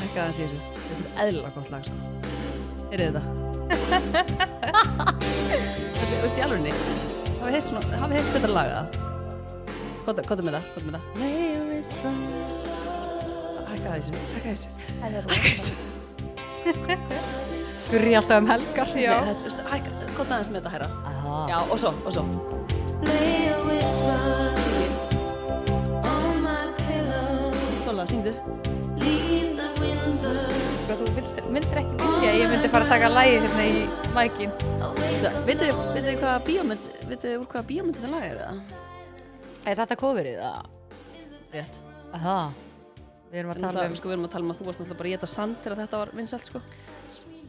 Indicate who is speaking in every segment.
Speaker 1: hækka aðeins í þessu. Þetta er eðlilega gott lag, sko. Heyrið þetta. þetta er, veist, í alvegni. Hafið heilt svona, hafið heilt betra lag, eða? Kota, kota með það, kota með það. Layer is fun. Hækka aðeins í þessu, hækka aðeins í þessu. Hækka aðeins í þessu.
Speaker 2: Gurri alltaf um helgar.
Speaker 1: Nei, þetta, veist, hækka, kota aðeins með þetta, herra.
Speaker 2: Ah.
Speaker 1: Já, og svo, og svo. Sola, syngdu.
Speaker 2: Sko, þú vilt- myndir ekki vilja, að ég myndi fara að taka lægið hérna í mækin.
Speaker 1: Veistu það, Vitið þið- vitið þið hvaða bíómynd, vitið þið úr hvaða bíómynd þetta lag er, eða?
Speaker 2: Er þetta coverið? það?
Speaker 1: Rétt.
Speaker 2: Aha. Við erum að
Speaker 1: En
Speaker 2: tala
Speaker 1: náttúrulega,
Speaker 2: um,
Speaker 1: sko, við erum að tala um að þú varst náttúrulega bara að geta sand þegar þetta var vinsælt, sko.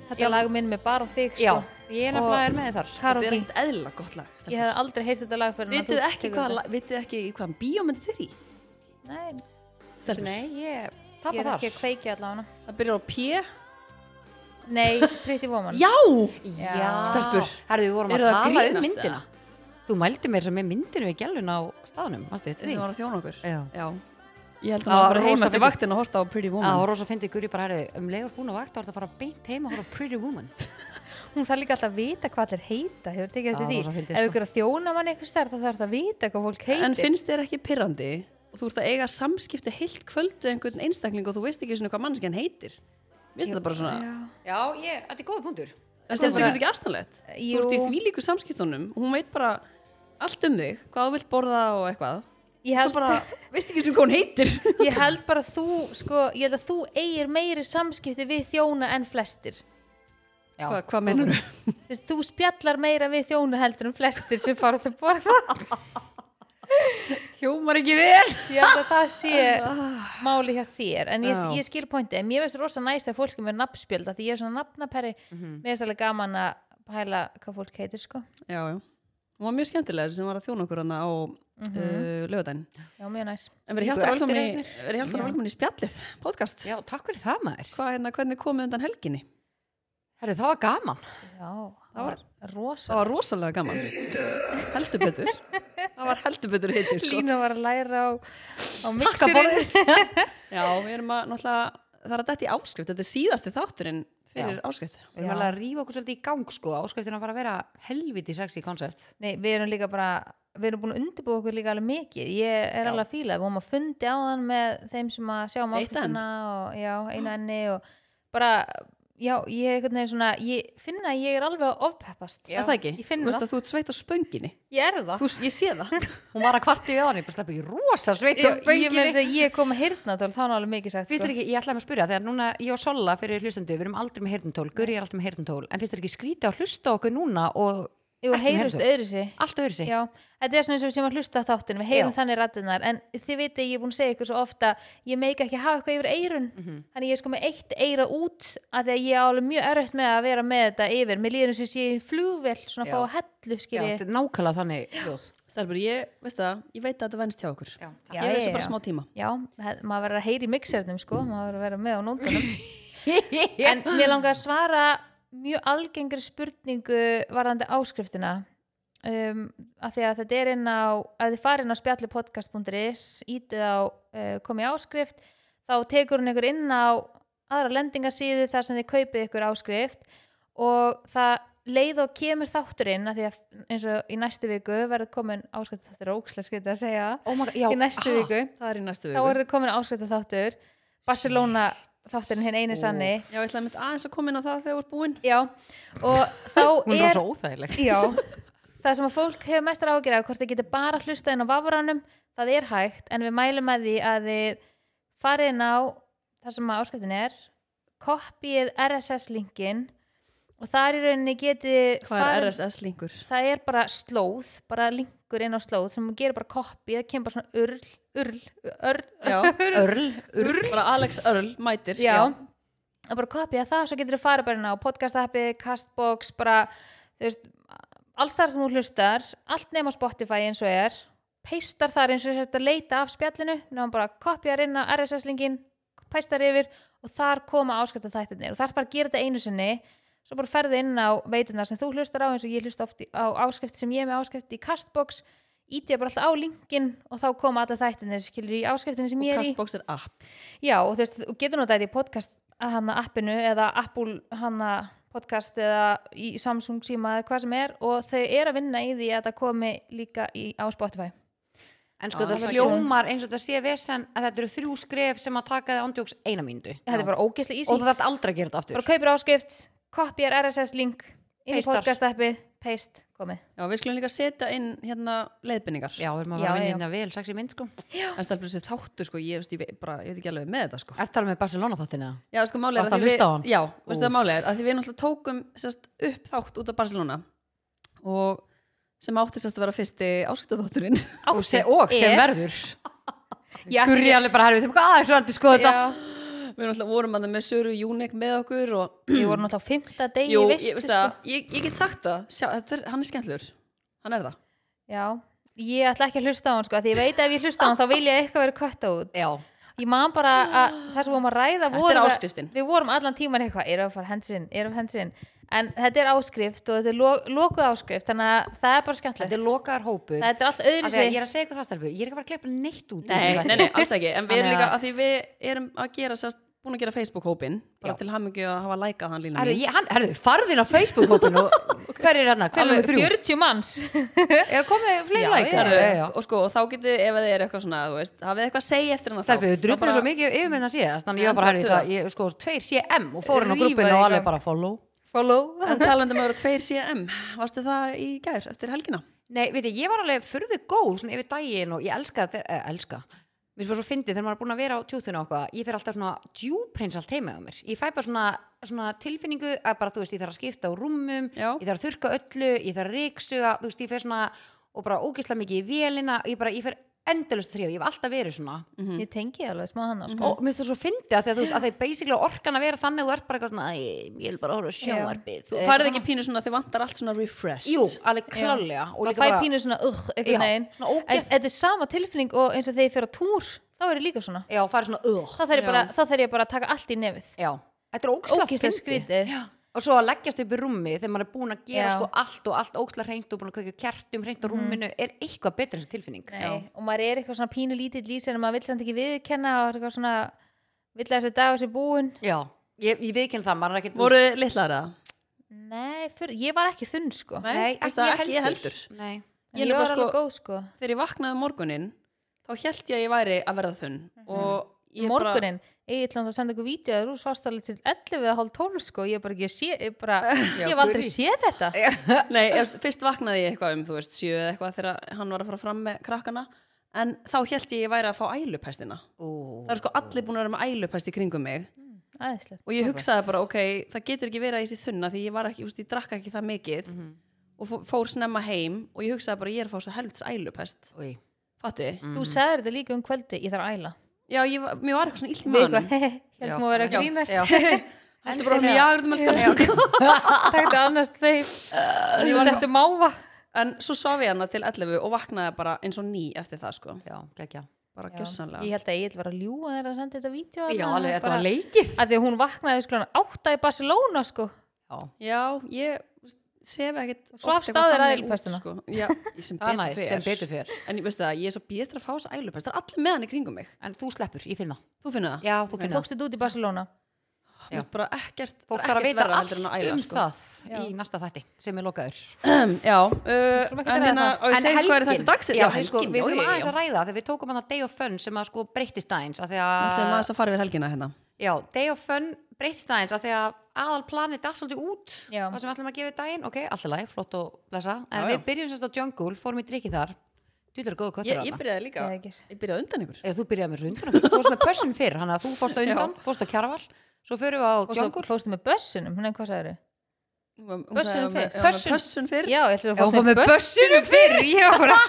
Speaker 3: Þetta er lag minn með bara þig sko.
Speaker 2: já, ég er
Speaker 3: Og
Speaker 2: nefnilega er með þar.
Speaker 1: Þetta er
Speaker 3: Karoli,
Speaker 1: ekkert eðlilega gott lag. stelpur.
Speaker 3: ég hef aldrei heyrt þetta lag fyrir
Speaker 1: Vitið ekki hvað, la- vitið ekki í hvaðan bíómynd þetta er í?
Speaker 3: Nei,
Speaker 1: Stelpur.
Speaker 2: Nei, ég
Speaker 3: ég
Speaker 2: tapa
Speaker 3: er
Speaker 2: þar.
Speaker 3: ekki að kveiki allavega
Speaker 1: Það byrjar á P.
Speaker 3: Nei, Pretty Woman
Speaker 1: Já!
Speaker 2: Já.
Speaker 1: Stelpur.
Speaker 2: Herðu, við vorum að
Speaker 1: Eru það að
Speaker 2: tala um
Speaker 1: grínast,
Speaker 2: myndina. Þú mældi mér sem er myndinu í gælun á staðnum, mannstu þetta
Speaker 1: Þessi
Speaker 2: því?
Speaker 1: var að þjóna okkur.
Speaker 2: Já.
Speaker 1: Já. Ég held að
Speaker 2: Það
Speaker 1: maður
Speaker 2: var
Speaker 1: fara heim
Speaker 2: rosa
Speaker 1: eftir
Speaker 2: fyndið.
Speaker 1: vaktin og horta á Pretty
Speaker 2: Það var
Speaker 1: Woman.
Speaker 2: rosa fyndið Guri bara herðu, um leiður búin að vakta var þetta að fara beint heim og horfa á Pretty Woman.
Speaker 3: Hún þarf líka alltaf að vita hvað allir heita Hefur tekið
Speaker 2: Já,
Speaker 3: eftir því
Speaker 2: rosa fyndið,
Speaker 3: Ef
Speaker 2: sko.
Speaker 3: ykkur er að þjóna mann einhvers þar þá þarf það að vita hvað fólk heitir
Speaker 1: En finnst þér ekki pirrandi og þú ert að eiga samskipti heilt kvöldu einhvern einstakling og þú veist ekki svona hvað mannskjan heitir? Vist þetta bara svona,
Speaker 2: Já, ég, þetta er góða punktur.
Speaker 1: en finnst þetta ekki aðstæðanlegt? Þú
Speaker 3: Jú.
Speaker 1: ert í þvílíku samskiptunum og hún veit bara allt um þig, hvað þú vilt borða og eitthvað.
Speaker 3: Ég
Speaker 1: Svo
Speaker 3: held,
Speaker 1: bara, veist ekki svona hvað hún heitir?
Speaker 3: ég held bara að þú, sko, ég held að þú eigir meiri samskipti við þjóna en flestir
Speaker 2: Já,
Speaker 1: Hva, hvað mennur þú?
Speaker 3: Þess, Þú spjallar meira við þjóna heldur en flestir sem fara út að borða
Speaker 2: hljómar ekki vel.
Speaker 3: Ég held að það sé máli hjá þér En ég,
Speaker 1: Já.
Speaker 3: ég skil pointi En mér veist rosa næst að fólki með nafnspjölda Því ég er svona nafnaperri Mér veist alveg gaman að pæla hvað fólk heitir, sko
Speaker 1: Já, já. Hún var mjög skemmtilega þessi sem var að þjóna okkur hana á mm
Speaker 3: Mhm.
Speaker 1: uh, lögadaginn.
Speaker 3: Já, mjög næs
Speaker 1: En verið
Speaker 2: Gengur
Speaker 1: hjartar velkomin
Speaker 2: eftir
Speaker 1: í,
Speaker 2: einnig.
Speaker 1: verið hjartar
Speaker 2: Já.
Speaker 1: velkomin í spjallið, podcast.
Speaker 2: Já, takk fyrir það maður.
Speaker 1: Hvað hérna, hvernig komið undan helginni?
Speaker 2: Herru, það var gaman.
Speaker 3: Já, það var rosa
Speaker 1: Það var rosalega gaman. Heldur betur. Það var heldur betur heiti, sko.
Speaker 3: Lína var að læra á, á mixurinn
Speaker 2: Takkaborðið.
Speaker 1: Já, við erum að, náttúrulega, það er að dætt í áskrift. Þetta er síðasti þátturinn fyrir áskrift.
Speaker 2: Við erum
Speaker 3: Já.
Speaker 2: alveg að rífa okkur svolítið í gang sko, áskriftin að fara að vera helviti sexy koncept.
Speaker 3: Nei, við erum líka bara við erum búin að undirbúa okkur líka alveg mikið ég er
Speaker 2: Já.
Speaker 3: alveg að fíla, við vorum að fundi á hann með þeim sem að
Speaker 1: Eitt
Speaker 3: sjá
Speaker 1: enn? Ah.
Speaker 3: málkvæmstina og já, einu enni og bara, já, ég er einhvern veginn svona, ég finna að ég er alveg að ofpeppast
Speaker 1: Er það ekki?
Speaker 3: Ég finn
Speaker 1: Þú veist
Speaker 3: það. Ah.
Speaker 1: að þú ert sveitt á spönginni.
Speaker 3: Ég er það
Speaker 1: Þú, ég sé það.
Speaker 2: Hún var að kvarti við hann, ég bara sleppi í rosa sveit og
Speaker 3: Ég, ég, meira að
Speaker 2: bönginni.
Speaker 3: segja, ég kom að hirna tól, þá er alveg mikið sagt sko.
Speaker 2: Þú veist ekki, ég ætlaði mér að spyrja, þegar núna ég og Sola fyrir hlustendu, við erum aldrei með heyrnintól, Guri er alltaf með heyrnintól, en finnst þér ekki skrítið að hlusta á okkur núna og
Speaker 3: Jú,
Speaker 2: ekki með
Speaker 3: heyrust
Speaker 2: heyrnartól?
Speaker 3: öðru sig
Speaker 2: Allt öðru sig.
Speaker 3: Já, þetta er svona eins og við sem að hlusta á þáttin við heyrum
Speaker 2: Já.
Speaker 3: þannig rættinnar en þið viti ég er búin að segja ykkur svo ofta ég meik ekki að hafa eitthvað yfir eirun
Speaker 2: Mhm.
Speaker 3: þannig ég er sko með eitt eira út af því að ég er alveg mjög erfitt með að vera með þetta yfir mér líður eins og sé ég í flugvél svona að
Speaker 2: Já.
Speaker 3: fá að hellu
Speaker 2: Já,
Speaker 3: skilji
Speaker 2: þetta er nákvæmlega þannig hljóð.
Speaker 1: Stelbur, ég, veist það, ég veit að þetta venst hjá okkur.
Speaker 2: Já,
Speaker 3: Já,
Speaker 1: ég hef þessu
Speaker 3: já,
Speaker 1: bara
Speaker 3: já.
Speaker 1: smá tíma.
Speaker 3: Já, he- maður verður að heyri mixernum sko, maður verður að vera með á nótunum
Speaker 2: takk.
Speaker 3: en mér langar að svara mjög algengri spurningu varðandi áskriftina um, af því að þetta er inn á að þið farið inn á spjallipodcast.is ítið á uh, komið áskrift þá tekur hún ykkur inn á aðra lendingasíðu þar sem þið kaupið ykkur áskrift og það leið og kemur þátturinn af því að eins og í næstu viku verður komin áskrift þetta er ókslega skrifta að segja
Speaker 2: Oh my god, já.
Speaker 3: í næstu
Speaker 2: ah,
Speaker 3: viku
Speaker 1: Það er í næstu
Speaker 3: þá
Speaker 1: viku.
Speaker 3: verður komin áskrift þáttur Barcelona þátturinn hinn eini sanni
Speaker 1: Já, ég ætlaði mitt aðeins að koma inn á það þegar þú ert búinn.
Speaker 3: Já, og þá
Speaker 2: Hún er
Speaker 3: er
Speaker 2: svo óþægileg.
Speaker 3: já, það sem að fólk hefur mestar ágjur af hvort þið getur bara hlusta inn á vafranum það er hægt, en við mælum með því að þið farið inn á það sem að áskriftin er kopið RSS linkin og þar í rauninni getið
Speaker 1: Hvað er
Speaker 3: farið-
Speaker 1: RSS-lingur?
Speaker 3: það er bara slóð, bara linkur inn á slóð sem gerir bara kopið, það kemur bara svona url, url, url,
Speaker 1: Já,
Speaker 2: Örl, url.
Speaker 1: bara Alex Earl mætir.
Speaker 3: já, og bara kopja það svo getur þú farið bara inn á podcast appi Castbox, bara þú veist, alls þar sem þú hlustar allt nema Spotify eins og er peistar þar eins og þess að leita af spjallinu nefnum bara kopjar inn á RSS lingin peistar yfir og þar koma áskipta þættirnir og þar bara að gera þetta einu sinni svo bara ferði inn á veitunar sem þú hlustar á eins og ég hlusta oft í- á áskipt sem ég er með áskipt í Castbox ít ég bara alltaf á linkin og þá koma alltaf þættirnir skilur í áskiptinni sem
Speaker 1: Og
Speaker 3: ég er í
Speaker 1: Castbox er app.
Speaker 3: Já, og þú veist, þú getur notað þetta í podcast hana appinu eða Apple hana podcast eða í Samsung síma eða hvað sem er og þau eru að vinna í því að það komi líka í, á Spotify
Speaker 2: En sko
Speaker 1: Já,
Speaker 2: það
Speaker 1: það
Speaker 2: hljómar eins og þetta sé vesen að þetta eru þrjú skref sem að taka þið ándjóks eina mínútu.
Speaker 3: þetta er bara ógeðslega
Speaker 2: Og
Speaker 3: easy
Speaker 2: það þarf aldrei að gera þetta aftur.
Speaker 3: bara kaupir áskrift, kopjar RSS link inn í
Speaker 2: Pastear.
Speaker 3: podcast appið, paste, komið
Speaker 1: Já, við skulum líka setja inn hérna leiðbendingar.
Speaker 2: Já, við erum að
Speaker 3: Já,
Speaker 2: vera að
Speaker 3: já.
Speaker 2: vinna hérna vel, sagði ég mynd sko.
Speaker 1: En stelpur þessi þáttur, sko, ég, veist, ég, veit bara, ég veit ekki alveg með þetta, sko.
Speaker 2: Er það alveg með Barcelona þáttina?
Speaker 1: Já, sko, málið er
Speaker 2: Varstu
Speaker 1: að
Speaker 2: að
Speaker 1: því
Speaker 2: hlusta á hann?
Speaker 1: Já, veistu það
Speaker 2: Úff.
Speaker 1: málið er að því við náttúrulega tókum sérst, upp þátt út af Barcelona og sem átti sérst að vera fyrsti áskiptaþátturinn.
Speaker 2: Og, se, og sem
Speaker 3: er-
Speaker 2: verður.
Speaker 3: Já,
Speaker 2: Gurri alveg bara herfið þeim, hvað aðeins var sko þetta?
Speaker 3: já,
Speaker 1: við náttúrulega vorum að með Söru Júnek með okkur og
Speaker 3: ég voru náttúrulega á fymta degi
Speaker 1: Jú,
Speaker 3: veistu, sko.
Speaker 1: ég, veistu það, ég, ég get sagt það, Sjá, þetta er, hann er skemmtlur, hann er það.
Speaker 3: Já, ég ætla ekki að hlusta á hann sko, því ég veit að ef ég hlusta á hann þá vil ég að eitthvað verið kvötta út
Speaker 2: Já.
Speaker 3: Ég man bara að það sem við vorum að ræða
Speaker 1: Þetta
Speaker 3: vorum
Speaker 1: er
Speaker 3: við-
Speaker 1: áskriftin.
Speaker 3: Við vorum allan tíman eitthvað, erum við að fara hensin, erum við hensin En þetta er áskrift og þetta er lo lokuð áskrift Þannig að það er bara skemmtilegt
Speaker 2: Þetta er lokaðar hópur.
Speaker 3: Þetta er allt
Speaker 2: Af því
Speaker 3: öðru
Speaker 2: að Ég er að segja eitthvað það stelpu, ég er ekki að fara að kleppa neitt út. í
Speaker 1: Nei,
Speaker 2: þessu
Speaker 1: nei,
Speaker 2: þætti.
Speaker 1: nei, alls ekki, en við erum
Speaker 2: Þannig
Speaker 1: líka
Speaker 2: að-
Speaker 1: að því við erum að gera sérst, búin að gera Facebook-hópin, bara
Speaker 2: Já.
Speaker 1: til hamingju að hafa lækað hann lína
Speaker 2: Herðu,
Speaker 1: mín.
Speaker 2: ég- hann- herðu, farðu inn á Facebook-hópin og hver er hérna? Hver er
Speaker 3: Alveg
Speaker 2: nummer þrjú?
Speaker 3: 40 manns
Speaker 2: Ég komið fleiri
Speaker 3: Já,
Speaker 2: læk.
Speaker 3: já.
Speaker 1: Herðu, og sko, og þá getið, ef þið er eitthvað svona, þú veist, hafið eitthvað að segja eftir hann að
Speaker 2: Stelpið, þau drulluðu svo mikið yfir minna síðast Þannig ég var
Speaker 1: En
Speaker 2: bara, herri,
Speaker 1: það-
Speaker 2: það, ég, sko, tveir CM og fórin á
Speaker 3: Rífa
Speaker 2: grúppinu
Speaker 3: þig í
Speaker 2: og alveg
Speaker 3: gang.
Speaker 2: bara follow
Speaker 3: Follow
Speaker 1: En talandum að vera tveir CM, varstu það í gær eftir helgina?
Speaker 2: Nei, veit ég, ég var alveg furðu góð svona yfir daginn og ég elska þeir, eh, elska Mér finnst bara svo fyndið þegar maður er búin að vera á tjúttinu og eitthvað Ég fer alltaf svona djúprins allt heima á mér Ég fæ bara svona, svona tilfinningu að bara, þú veist, ég þarf að skipta á rúmum
Speaker 1: Já.
Speaker 2: Ég þarf að þurrka öllu, ég þarf að reyksuga Þú veist, ég fer svona og bara ógisla mikið í vélina Ég bara, ég fer endalust þrjá, ég hef alltaf verið svona
Speaker 3: Ég tengi alveg smá hann sko.
Speaker 2: Mhm. og mér finnst það svo fyndið að því að þú veist að þeir basically orkan að vera þannig að þú ert bara eitthvað svona "Æ, ég vil bara horfa á sjónvarpið
Speaker 1: Þú farið ekki pínu svona að þið vantar allt svona refreshed
Speaker 2: Eh, ah. jú, alveg klálega og
Speaker 3: Maður
Speaker 2: líka
Speaker 3: fæ
Speaker 2: bara
Speaker 3: pínu svona, uh,
Speaker 2: Já,
Speaker 3: einhvern veginn
Speaker 2: svona ógeð.
Speaker 3: En þetta er sama tilfinning og eins og þegar ég fer á túr Þá er ég líka svona
Speaker 2: já, farið svona ugh
Speaker 3: Þá þarf ég
Speaker 1: Já.
Speaker 3: bara, þá þarf ég bara að taka allt í nefið
Speaker 2: já, þetta er ógislega
Speaker 3: Ógeðslega skrítið.
Speaker 2: fyndið Já. og svo að leggjast upp í rúmi þegar maður er búin að gera
Speaker 3: Já.
Speaker 2: sko allt og allt ógislega hreint og búin að kveika kjartum hreint
Speaker 1: Mhm.
Speaker 2: á rúminu er eitthvað betra þessi tilfinning
Speaker 3: Nei, og maður er eitthvað svona pínu lítill í sér en maður vill samt ekki viðkenna og er eitthvað svona vill að þessi dagur sér búin
Speaker 2: já, ég, ég veikin það maður er ekkert
Speaker 1: Voru þið litlar eða?
Speaker 3: Nei, fyr, ég var ekki þunn sko
Speaker 1: Nei,
Speaker 2: Nei,
Speaker 1: veistu
Speaker 2: ekki,
Speaker 1: það,
Speaker 2: ég
Speaker 1: ekki ég heldur.
Speaker 2: Nei.
Speaker 1: ég
Speaker 3: en ég
Speaker 1: nefnilega,
Speaker 3: var alveg
Speaker 1: sko-
Speaker 3: góð sko
Speaker 1: Þegar ég vaknaði um morguninn, þá held ég að ég væri að verða þunn og ég
Speaker 3: Morgunin, ég ætla að senda ykkur vídeo að þú svarst alveg til 11 eða hálf 12 sko ég bara ekki sé, ég bara
Speaker 2: Já,
Speaker 3: ég hef aldrei
Speaker 2: Guri.
Speaker 3: séð þetta
Speaker 1: bara, nei, ég veist, fyrst vaknaði ég eitthvað um, þú veist, sjö eða eitthvað þegar hann var að fara fram með krakkana en þá held ég að ég væri að fá ælupestina
Speaker 2: Ú.
Speaker 1: Það eru sko allir búin að vera með ælupest í kringum mig
Speaker 3: Æðislegt
Speaker 1: og ég hugsaði bara, ok, það getur ekki verið að ég sé þunna því ég var ekki, úst, ég drakk ekki það mikið
Speaker 2: Mhm.
Speaker 1: og fó- fór snemma heim og ég hugsaði bara, ég er að fá svo helvits ælupest
Speaker 2: Új.
Speaker 1: Fatti?
Speaker 2: Mm. mhm.
Speaker 3: Þú sagðir þetta líka um kvöldi, ég þarf að æla
Speaker 1: Já, ég, var- mér var eitthvað svona illt í
Speaker 3: Við
Speaker 1: mann
Speaker 3: eitthvað, heldum að vera að
Speaker 1: Já.
Speaker 3: grínast
Speaker 2: Já.
Speaker 1: Þetta er bara um jagrum elskan
Speaker 3: Takk það annars þeim
Speaker 1: ég
Speaker 3: Þú
Speaker 1: var-
Speaker 3: settu máva
Speaker 1: En svo svaf ég hana til 11 og vaknaði bara eins og ný eftir það sko
Speaker 2: já, geggja
Speaker 1: Bara
Speaker 3: Já.
Speaker 1: gjössanlega
Speaker 3: Ég held að ég ætla bara að ljúga þegar að senda þetta vídeo
Speaker 2: já,
Speaker 3: þarna,
Speaker 2: alveg, þetta
Speaker 3: bara-
Speaker 2: var leikið
Speaker 3: að því að hún vaknaði sko átta í Barcelona sko
Speaker 2: já,
Speaker 1: Já, ég sef ekkit
Speaker 3: Og svafst
Speaker 1: oft
Speaker 3: á
Speaker 1: eitthvað
Speaker 3: þér
Speaker 1: þannig
Speaker 3: ælupestina?
Speaker 1: út, sko. Já, ég sem
Speaker 2: það er
Speaker 1: betur
Speaker 2: næst,
Speaker 1: fer
Speaker 2: sem betur fer
Speaker 1: En ég veistu það, ég er svo býðist að fá þess ælupest Það er allir með hann í kringum mig
Speaker 2: en þú sleppur, ég finna
Speaker 1: Þú finnur það?
Speaker 2: já, þú
Speaker 3: Þú
Speaker 2: finna
Speaker 3: tókst þetta út í Barcelona
Speaker 1: Þú veist bara ekkert
Speaker 2: fólk
Speaker 1: ekkert
Speaker 2: þarf að vita
Speaker 1: verra
Speaker 2: allt
Speaker 1: heldur en
Speaker 2: um
Speaker 1: að æla, sko.
Speaker 2: það
Speaker 3: Já.
Speaker 2: í næsta þætti sem er lokaður
Speaker 1: Já,
Speaker 3: skulum
Speaker 1: uh, en
Speaker 3: ekki ræða
Speaker 1: hérna
Speaker 3: það.
Speaker 1: á ég segja hvað er þetta dagsir?
Speaker 2: já, helgin, sko, við þurfum aðeins að ræða þegar við tókum hann að Day of Fun sem að sko breyttist aðeins að
Speaker 1: Það er
Speaker 2: að,
Speaker 1: aðeins að fara við helgina hérna
Speaker 2: já, Day of Fun breyttist aðeins að því að aðal planið datt svolítið út
Speaker 3: Já.
Speaker 2: það sem við ætlum að gefa í daginn, ok, alltaf læg, flott og lesa en
Speaker 1: Já, já.
Speaker 2: við byrjum sérst á Jungle, fórum í drikki þar þú er góðu
Speaker 1: Ég,
Speaker 2: köttur
Speaker 1: ég byrjaði líka,
Speaker 3: Geðveikir.
Speaker 1: ég byrjaði undan ykkur
Speaker 2: eða þú byrjaði með þessu undan þú fórst með pössun fyrr, hann að þú fórst á undan fórst á kjarval, svo förum við á
Speaker 3: og svo
Speaker 2: Jungle
Speaker 3: fórstu með bussinum, hún er hvað sagður
Speaker 1: Hún var- hún
Speaker 3: Pössun
Speaker 1: sagði að hún- já, hún
Speaker 3: fyrr.
Speaker 1: var Pössun
Speaker 2: Pössun.
Speaker 1: fyrr
Speaker 3: já, ég ætla að
Speaker 2: Já, hún fór
Speaker 3: fórstu
Speaker 2: með bussinum
Speaker 3: fyrr já, bara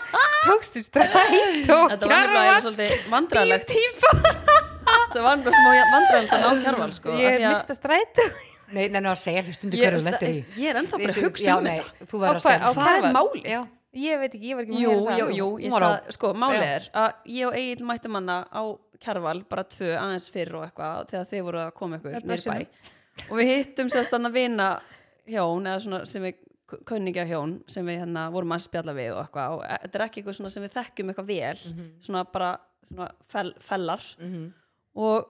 Speaker 3: tókstu stræt
Speaker 1: Þetta
Speaker 3: og
Speaker 1: var nefnilega eiginlega
Speaker 3: kjarvar
Speaker 1: svolítið vandræðilegt Þetta var nefnilega smá vandræðilegt að ná kjarval sko, af
Speaker 3: ég
Speaker 1: því að-
Speaker 3: mista stræt
Speaker 2: nei, nei, nei, að segja hlustundu
Speaker 1: ég,
Speaker 2: hverju þú lendir í
Speaker 1: ég er ennþá bara að
Speaker 2: Já,
Speaker 1: hugsa um
Speaker 2: nei,
Speaker 1: þetta
Speaker 2: þú
Speaker 3: Á
Speaker 2: verður að
Speaker 3: hvað-
Speaker 2: segja
Speaker 3: á
Speaker 1: Hvað
Speaker 3: Kjarval.
Speaker 1: er málið?
Speaker 2: Já.
Speaker 3: ég veit ekki, ég var ekki
Speaker 1: Jú, jú,
Speaker 3: búin að heyra það
Speaker 1: jú, ég
Speaker 2: Hún var á-
Speaker 1: sað, sko, málið
Speaker 2: Já.
Speaker 1: er að ég og Egil mættum hana á Kjarval bara tvö aðeins fyrr og eitthvað þegar þið voru að koma ykkur niður
Speaker 3: Með
Speaker 1: í
Speaker 3: börsunum.
Speaker 1: bæ og við hittum sérst hann að vina hjón eða svona sem við kunningja hjón sem við hérna vorum að spjalla við og eitthvað og e-
Speaker 3: Mhm.
Speaker 1: þetta er ekki eitthvað svona sem við þekkjum eitthvað vel svona bara svona fel, fellar
Speaker 2: Mhm.
Speaker 1: og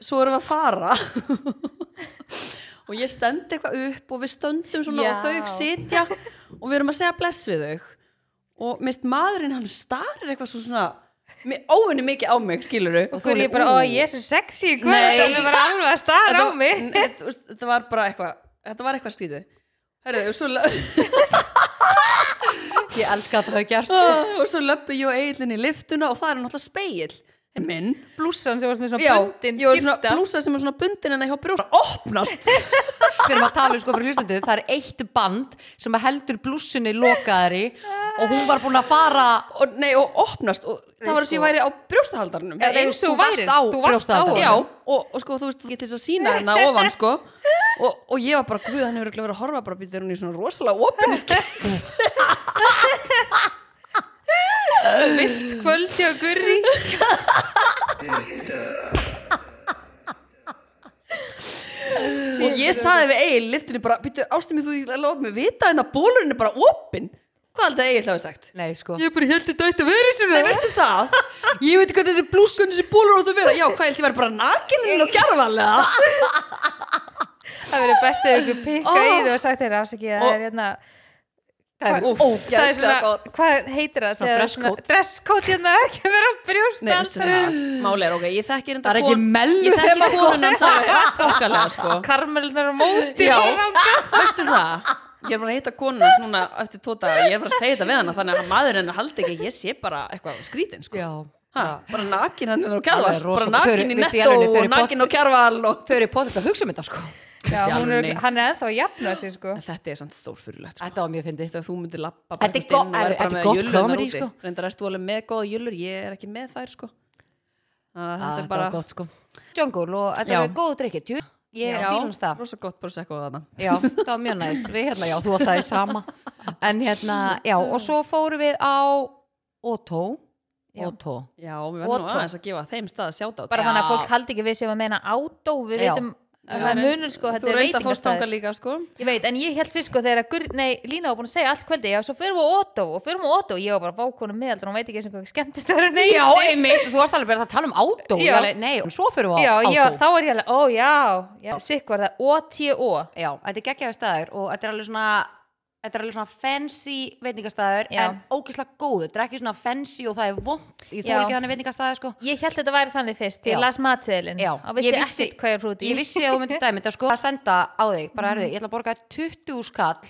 Speaker 1: svo erum við að fara og ég stend eitthvað upp og við stöndum svona
Speaker 3: Já.
Speaker 1: og þau sitja og við erum að segja bless við þau og mist maðurinn hann starir eitthvað svo svona óvinni mikið á mig skiluru
Speaker 3: og þú er ég bara, ó, ég er svo sexy í kvöld
Speaker 1: Nei.
Speaker 3: það er bara alveg að stara á mig
Speaker 1: þetta, þetta var bara eitthvað þetta var eitthvað skrítið Herðu, og svo, lö-
Speaker 2: Ég elska að það hafa gerst
Speaker 1: og svo löppu ég og Egilin í liftuna og það er náttúrulega speill minn
Speaker 3: blússan sem varst með
Speaker 1: Já,
Speaker 3: svona bundin
Speaker 1: ég var svona
Speaker 3: skyrta
Speaker 1: blúsa sem er svona bundin en það hjá brjóst opnast
Speaker 2: Við erum að tala um sko fyrir hlustundu Það er eitt band sem að heldur blússinni lokaðari og hún var búin að fara
Speaker 1: og, nei, og opnast og það var eins og ég væri á brjóstahaldarnum
Speaker 3: Eða eins og
Speaker 2: Þú varst
Speaker 3: væri,
Speaker 2: á
Speaker 3: þú varst á
Speaker 2: brjóstahaldaranum.
Speaker 1: Já,
Speaker 3: honum.
Speaker 1: og, og sko, þú veist, ég til þess að sína hérna ofan, sko og, og ég var bara, guð, hann hefur örugglega verið að horfa bara býtur hún í svona rosalega opinni skemmt
Speaker 3: kvöldi og gurri
Speaker 1: og ég saði við Egil í liftinu bara, býtur, ástum ég þú ég láta mig vita en að bólurinn er bara opinn Hvað haldið að Egil hafi sagt?
Speaker 2: Nei sko
Speaker 1: Ég bara held þetta ætti að vera svona Nei, veistu það? Ég veit ekki hvað þetta er blúskun þessi bólur áttu að vera Já, hvað held ég væri bara hérna nakininn og gerfalega?
Speaker 3: það verið best ef ykkur pikka
Speaker 1: Ó.
Speaker 3: í þau og sagt þeirra afsakið það
Speaker 1: Og-
Speaker 3: er hérna
Speaker 2: Það er
Speaker 1: Úff,
Speaker 3: það er
Speaker 2: ógæðslega
Speaker 3: svona,
Speaker 2: gott
Speaker 3: hvað heitir það?
Speaker 2: Svona
Speaker 3: Þegar
Speaker 2: dress
Speaker 3: svona-
Speaker 2: code.
Speaker 3: dress code hérna er ekki að vera
Speaker 1: Nei, veistu það?
Speaker 3: brjóstan
Speaker 1: Máli er, ok, ég þekki reynda
Speaker 2: Það er ekki mellu
Speaker 1: Ég
Speaker 2: þema,
Speaker 1: þekki
Speaker 2: sko.
Speaker 1: konunan sálega, þokkalega, sko
Speaker 3: karmelnar og móti
Speaker 1: Já, veistu það Ég er bara að hitta konuna svona eftir tóta Ég er bara að segja þetta við hana þannig að maður hennar haldi ekki að Ég sé bara eitthvað skrítin sko
Speaker 2: Já,
Speaker 1: ha,
Speaker 2: já.
Speaker 1: Bara nakin hennar og
Speaker 2: Alveg
Speaker 1: kjarval Bara
Speaker 2: rosa-
Speaker 1: nakin í
Speaker 2: Þau eru-
Speaker 1: netto
Speaker 2: veistu í alvörunni, þau
Speaker 1: og
Speaker 2: eru
Speaker 1: nakin og kjarval og...
Speaker 2: Þau eru potið að hugsa um þetta sko
Speaker 3: Já,
Speaker 1: Veist í
Speaker 3: hún er,
Speaker 1: alvörunni.
Speaker 3: hann er ennþá að jafna sig sko
Speaker 1: En Þetta er samt stórfyrirlegt sko.
Speaker 2: Þetta var mjög fyndið
Speaker 1: Þetta að þú myndir lappa
Speaker 2: Þetta er gott- þetta er gott comedy, sko.
Speaker 1: Reyndar ertu alveg með góða jölur Ég er ekki með þær sko Þannig að Þetta
Speaker 2: Ah, Þetta
Speaker 1: er bara
Speaker 2: var gott sko Jungle og þetta
Speaker 1: Já.
Speaker 2: var góð drikkið Ég
Speaker 1: Já,
Speaker 2: fýlum stað
Speaker 1: rosa gott prosecco þarna
Speaker 2: Já, það var mjög næs Við hérna, já, þú og það er sama En hérna, já, og svo fórum við á Otto
Speaker 3: Já.
Speaker 2: Otto
Speaker 1: Já, við verðum nú
Speaker 3: Og tó-
Speaker 1: aðeins að gefa þeim stað að sjáta
Speaker 3: bara
Speaker 2: Já.
Speaker 3: þannig að fólk haldi ekki við sem að meina átó við
Speaker 2: Já.
Speaker 3: veitum að það munur sko, þetta
Speaker 1: Þú
Speaker 3: er
Speaker 1: reynda að fóst
Speaker 3: veitingastæður
Speaker 1: þangað líka sko
Speaker 3: ég veit, en ég held fyrst sko þegar að Gur- nei, Lína var búin að segja allt kvöldi, já, svo fyrir við á Otto og fyrir við á Otto, ég var bara vákonum meðaldur hún veit ekki eins og hvað skemmtist það er nei,
Speaker 2: Já, einmitt, þú varst alveg bara að tala um átó
Speaker 3: Já.
Speaker 2: já. Alveg, Nei, og svo fyrir við
Speaker 3: já,
Speaker 2: á
Speaker 3: já,
Speaker 2: átó
Speaker 3: þá er ég alveg, ó já, já sikk var það, O-T-O
Speaker 2: Já, þetta er geggjaður staður og þetta er alveg svona Þetta er alveg svona fancy veitingastæður
Speaker 3: Já.
Speaker 2: en ógeðslega góður, þetta er ekki svona fancy og það er vond, ég
Speaker 3: Já.
Speaker 2: þóla ekki þannig veitingastæður sko
Speaker 3: ég held þetta væri þannig fyrst, því
Speaker 2: Já.
Speaker 3: ég las matseðilinn
Speaker 2: Já,
Speaker 3: og vissi,
Speaker 2: ég vissi-
Speaker 3: ekkert hvað ég er hrúti
Speaker 2: Ég vissi að þú myndir dæmi þetta sko að senda á þig bara erði, ég ætla að borga þér 20 skall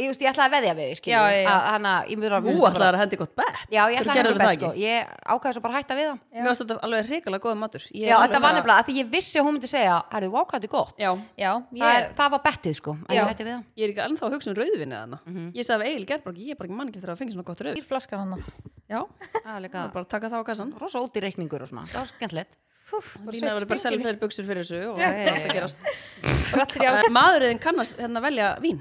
Speaker 2: Ég veist, ég ætla að veðja við þig skilur
Speaker 3: Já, já,
Speaker 2: við,
Speaker 3: já.
Speaker 2: að- Þannig að ég mjög að
Speaker 1: Þú ætlaði að hendi gott bett
Speaker 2: Já, ég ætla að
Speaker 1: gerðir
Speaker 2: henni
Speaker 1: það
Speaker 2: bett sko Ég ákvæði svo bara að hætta við það
Speaker 1: Mér finnst þetta alveg hrikalega góða matur Ég
Speaker 2: Já,
Speaker 1: er alveg
Speaker 2: þetta var
Speaker 1: bara-
Speaker 2: nefnilega að því ég vissi að hún myndi segja Herðu, wow, hvað þetta er gott
Speaker 1: Já,
Speaker 3: já,
Speaker 2: það, er,
Speaker 3: ég,
Speaker 2: það var bettið sko, en
Speaker 3: Já.
Speaker 2: ég hætti við það
Speaker 1: ég er ekki ennþá að hugsa um rauðvinni þarna
Speaker 3: Mhm.
Speaker 1: Ég sagði við Egil Gerborg, ég er bara ekki mann ekki eftir að fengi svona gott rauð
Speaker 3: ég Ah. flaskar hann
Speaker 1: Já,
Speaker 2: Það er líka
Speaker 1: það er bara að taka það á kassan
Speaker 2: rosa óti reikningur og svona, það var skemmtilegt
Speaker 1: Lína verður bara að selja fleiri buksur fyrir þessu og
Speaker 2: Já,
Speaker 1: það er
Speaker 2: já,
Speaker 1: allt að
Speaker 2: já.
Speaker 1: gerast
Speaker 3: allir já,
Speaker 1: Maðurinn kannast hérna velja vín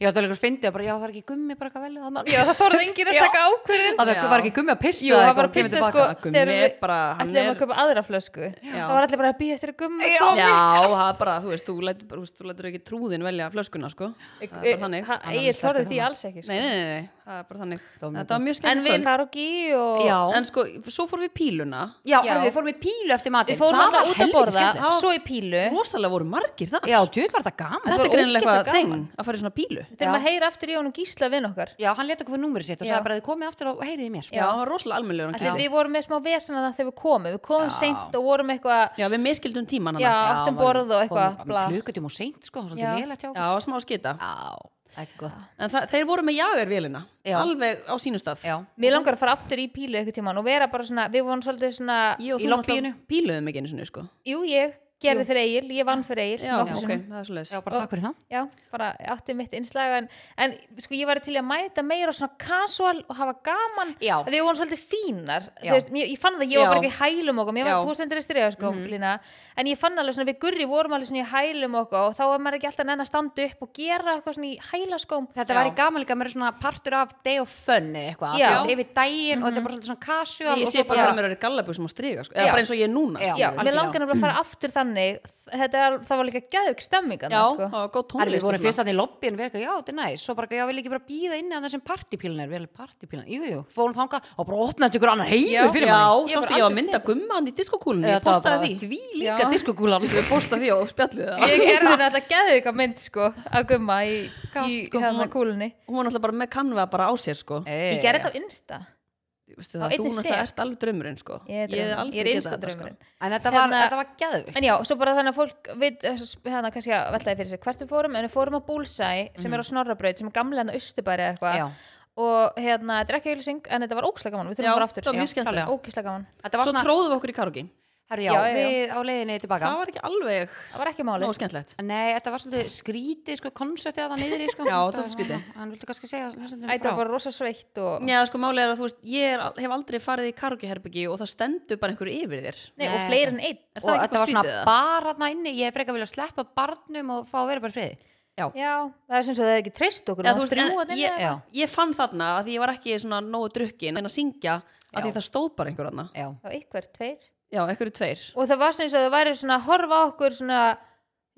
Speaker 2: Já, það var líka fyndið, bara, já, það er ekki gummi bara eitthvað velja þannig
Speaker 3: já, það þorði enginn að
Speaker 2: Já.
Speaker 3: taka ákvörðin
Speaker 2: að það
Speaker 1: Já.
Speaker 2: var ekki gummi að pissa
Speaker 3: Jú, það var að
Speaker 2: og kemur
Speaker 3: pissa,
Speaker 2: tilbaka.
Speaker 3: sko,
Speaker 1: Gummi
Speaker 3: þegar
Speaker 1: er
Speaker 3: við
Speaker 1: bara, hann
Speaker 3: ætlum
Speaker 1: er-
Speaker 3: að kaupa aðra flösku það var allir bara að býja eftir að gumma
Speaker 2: Já.
Speaker 3: komi.
Speaker 1: Já, það er bara, þú veist, þú lætur, bara- þú veist, þú lætur ekki trúðin velja flöskuna sko Það er bara þannig
Speaker 3: Ha- ég þorði því alls ekki sko.
Speaker 1: Nei, nei, nei, nei, það er bara þannig
Speaker 2: Það var mjög
Speaker 1: Þetta var mjög
Speaker 3: en við
Speaker 1: skemmt
Speaker 3: karogi og
Speaker 2: Já,
Speaker 1: En sko, svo fór við í píluna
Speaker 2: já, herðu, við fórum í pílu eftir matinn
Speaker 3: við fórum
Speaker 2: Það var
Speaker 3: alltaf út að
Speaker 2: helviti
Speaker 3: borða
Speaker 2: skemmtilegt.
Speaker 3: svo í pílu
Speaker 1: Rosalega voru margir það
Speaker 2: Já, djúð var þetta gaman
Speaker 1: Þetta er
Speaker 3: var
Speaker 1: greinilega
Speaker 3: ógeðslega
Speaker 1: eitthvað þeng að fara í svona pílu
Speaker 3: við þurfum
Speaker 2: Já.
Speaker 3: að heyra aftur í honum gísla vinn okkar
Speaker 2: Já, hann leta okkur fyrir númerið sitt og
Speaker 3: Já.
Speaker 2: sagði bara þið komið aftur og heyriði í mér
Speaker 1: Já, hann var rosalega almennlegur
Speaker 3: Af því
Speaker 1: hann
Speaker 3: að
Speaker 1: Gísli.
Speaker 3: við vorum með smá vesana það þegar við komum við komum
Speaker 2: Já.
Speaker 3: seint og vorum eitthvað
Speaker 1: Já, við miskildum tíman hann
Speaker 3: já, áttum borð um og eitthvað bla.
Speaker 2: Klukutum og seint, sko, það var
Speaker 3: Já.
Speaker 2: svolítið nýlega tjá
Speaker 1: Já, smá skita
Speaker 2: Já, ekki gott
Speaker 1: En þa- þeir voru með jagarvélina
Speaker 2: Já.
Speaker 1: Alveg á sínum stað
Speaker 2: Já,
Speaker 3: mér langar að fara aftur í pílu eitthvað tíman og vera bara svona við vorum svolítið svona
Speaker 1: Ég og
Speaker 2: Í
Speaker 1: þú
Speaker 2: lobbíinu.
Speaker 1: náttúrulega píluðum ekki einu sinni sko
Speaker 3: jú, ég gerði fyrir Egil, ég vann fyrir Egil
Speaker 1: Já,
Speaker 3: nokkrum
Speaker 1: ok,
Speaker 3: sinnum.
Speaker 1: það er svo leis
Speaker 2: já, bara takk fyrir það
Speaker 3: Já, bara átti mitt innslag en, en sko ég var til í að mæta meira svona casual og hafa gaman
Speaker 2: Já.
Speaker 3: að við vorum svolítið fínar
Speaker 2: Já.
Speaker 3: Þú veist, ég, ég fann það, ég var bara
Speaker 1: Já.
Speaker 3: ekki í hælum okkur
Speaker 1: Já.
Speaker 3: mér
Speaker 1: Mhm.
Speaker 3: var tóðstendur í stríða sko Lína en ég fann alveg svona við gurri vorum alveg svona í hælum okkur og þá var maður ekki alltaf nenn að standa upp og gera eitthvað svona í hælaskóm
Speaker 2: Þetta
Speaker 1: Já.
Speaker 2: væri gaman líka að vera svona partur af day of fun eða eitthvað,
Speaker 3: Já.
Speaker 2: þú veist, yfir daginn og þetta er bara svolítið svona casual
Speaker 1: Mhm. Ég
Speaker 2: og
Speaker 1: sé
Speaker 2: svo
Speaker 1: bara
Speaker 2: bara
Speaker 1: fyrir mér að vera gallabjúsum og striga sko
Speaker 2: Já.
Speaker 1: Eða bara eins og ég er núna
Speaker 2: Já.
Speaker 1: skilurðu.
Speaker 3: Já, mér langar nefnilega að fara aftur þannig þannig þetta, er- það var líka gæðug stemming
Speaker 1: Já,
Speaker 3: þarna,
Speaker 2: sko.
Speaker 3: sko.
Speaker 1: það var góð sko, tónlist
Speaker 2: Arli,
Speaker 1: hérna.
Speaker 2: við vorum
Speaker 1: og svona.
Speaker 2: fyrst þannig í lobbyin við erum eitthvað, já, þetta er næst, svo bara, já, vil ekki bara býða inni að þessum partypílan er, vel partypílan, jú, jú, fórum þanga og bara opnaði ykkur annar heimur fyrir
Speaker 1: Já,
Speaker 2: manni.
Speaker 3: Ég
Speaker 1: sástu ég
Speaker 3: var
Speaker 1: var
Speaker 3: aldrei
Speaker 1: að mynda
Speaker 3: séð
Speaker 1: gumman í diskokúlunni, ég
Speaker 2: Þetta var bara
Speaker 1: postaði því
Speaker 2: því líka
Speaker 3: Já.
Speaker 2: diskogúlan.
Speaker 1: Ég postaði því og spjallið það
Speaker 3: ég gerði þetta gæðuga mynd sko að gumma í, í
Speaker 2: Gafst, sko,
Speaker 3: hérna
Speaker 1: hún-
Speaker 3: kúlunni
Speaker 1: Hún var náttúrulega bara með kanva bara á sér sko
Speaker 3: ég gerði þetta á insta
Speaker 1: Vistu það, Þú
Speaker 3: á einni
Speaker 1: náttúrulega
Speaker 3: sel.
Speaker 1: ert alveg draumurinn sko
Speaker 3: ég er,
Speaker 1: hef
Speaker 3: draumurinn.
Speaker 1: aldrei
Speaker 3: ég er
Speaker 1: getað
Speaker 3: insta
Speaker 1: þetta, sko.
Speaker 3: draumurinn
Speaker 2: En þetta var,
Speaker 3: Hérna-
Speaker 2: þetta var gæðvikt.
Speaker 3: en já, svo bara þannig að fólk við, eh, s- hérna kannski að veltaði fyrir sér hvert við fórum en við fórum á Bullseye sem er á Snorrabraut sem er gamlega hann á Östubæri eða
Speaker 2: Já.
Speaker 3: eitthvað og hérna, þetta er ekki auðlýsing en þetta var ógislega gaman, við
Speaker 1: Já,
Speaker 3: þurfum bara aftur
Speaker 1: þetta var mjög skemmtilegt.
Speaker 3: ógislega gaman,
Speaker 2: Þetta var
Speaker 1: Svo
Speaker 2: svona,
Speaker 1: tróðum við okkur í karaoke
Speaker 2: herru, já,
Speaker 3: Já, já, já.
Speaker 2: við á leiðinni tilbaka.
Speaker 1: Það var ekki alveg
Speaker 3: það var ekki
Speaker 1: nóg
Speaker 3: málið
Speaker 1: skemmtilegt
Speaker 2: Nei, þetta var svolítið skrítið, sko, konseptið að það niður í, sko.
Speaker 1: Já, þetta var
Speaker 2: svona-
Speaker 1: skrítið.
Speaker 2: Hann vildi kannski segja, hlustandum,
Speaker 3: Æ, það var bara rosa sveitt og,
Speaker 1: Já, sko, málið er að þú veist, ég er, hef aldrei farið í karaokeherbyggi og það stendur bara einhverju yfir þér.
Speaker 3: nei, og
Speaker 2: Nei,
Speaker 3: fleiri en einn
Speaker 1: Er það ekki
Speaker 2: og þetta
Speaker 1: eitthvað
Speaker 2: var
Speaker 1: skrítið
Speaker 2: svona
Speaker 1: það?
Speaker 2: bar hérna inni ég hef frekar viljað sleppa barnum og fá að vera bara í friði
Speaker 3: já, það er sem svo það er ekki treyst okkur
Speaker 1: Eða,
Speaker 3: hún
Speaker 1: þú
Speaker 3: var
Speaker 1: veist,
Speaker 3: þrjú
Speaker 1: en
Speaker 3: þarna inni,
Speaker 1: ég-
Speaker 3: eða
Speaker 2: já,
Speaker 1: Ég fann þarna að því ég var ekki svona nógu drukkin en að syngja að því það stóð bara einhverju þarna.
Speaker 3: eitthvað.
Speaker 2: já,
Speaker 3: Já, einhver, tveir
Speaker 1: Já, einhverju tveir.
Speaker 3: og það var sem svo það væri svona að horfa á okkur svona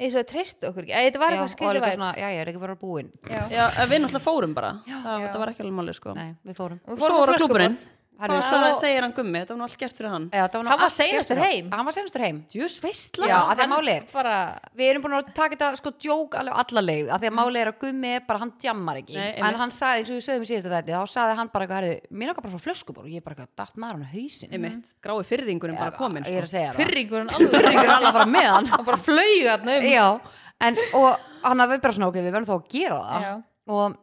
Speaker 3: eins og að treyst okkur ekki, Æ, þetta var
Speaker 2: já
Speaker 3: eitthvað
Speaker 2: og er
Speaker 3: skrítið
Speaker 2: eitthvað
Speaker 3: væri
Speaker 2: svona, já, ég er ekki bara búin
Speaker 3: já,
Speaker 1: Já, en við náttúrulega fórum bara.
Speaker 2: Já.
Speaker 1: það,
Speaker 3: Já.
Speaker 1: það var ekki alveg málið, sko.
Speaker 2: nei, við fórum
Speaker 3: Og
Speaker 1: Svo
Speaker 3: fórum á
Speaker 1: voru
Speaker 3: flöskuborð.
Speaker 1: klúbburinn.
Speaker 2: Herru,
Speaker 1: Og
Speaker 2: svo- Eh,
Speaker 1: það segir hann gummi, þetta var nú allt gert fyrir hann.
Speaker 2: já, það var nú
Speaker 3: Hann var
Speaker 2: allt gert
Speaker 3: seinastur
Speaker 2: fyrir-
Speaker 3: heim.
Speaker 2: hann var senastur heim
Speaker 1: Djús veistla.
Speaker 2: já, að því að
Speaker 3: Hann
Speaker 2: máli er
Speaker 3: bara,
Speaker 2: við erum búin að taka þetta sko djók alveg alla leið að því að máli er að gummi er bara, hann djammar ekki
Speaker 1: Nei, einmitt.
Speaker 2: en hann sagði, eins og við sögðum í síðasta þetta þá sagði hann bara, herru, mér nokkar bara frá flöskubor og ég bara, eitthvað, datt maður hann á hausin
Speaker 1: Einmitt, grái fyrringurinn bara kominn,
Speaker 2: mhm. ég
Speaker 1: sko.
Speaker 2: er að segja það
Speaker 3: fyrringurinn alveg
Speaker 2: Fyrringur er alveg að fara með hann
Speaker 3: hann bara flaug þarna um
Speaker 2: já, en og hann hafði bara svona ok, við verðum þá að gera það
Speaker 3: Já.
Speaker 2: og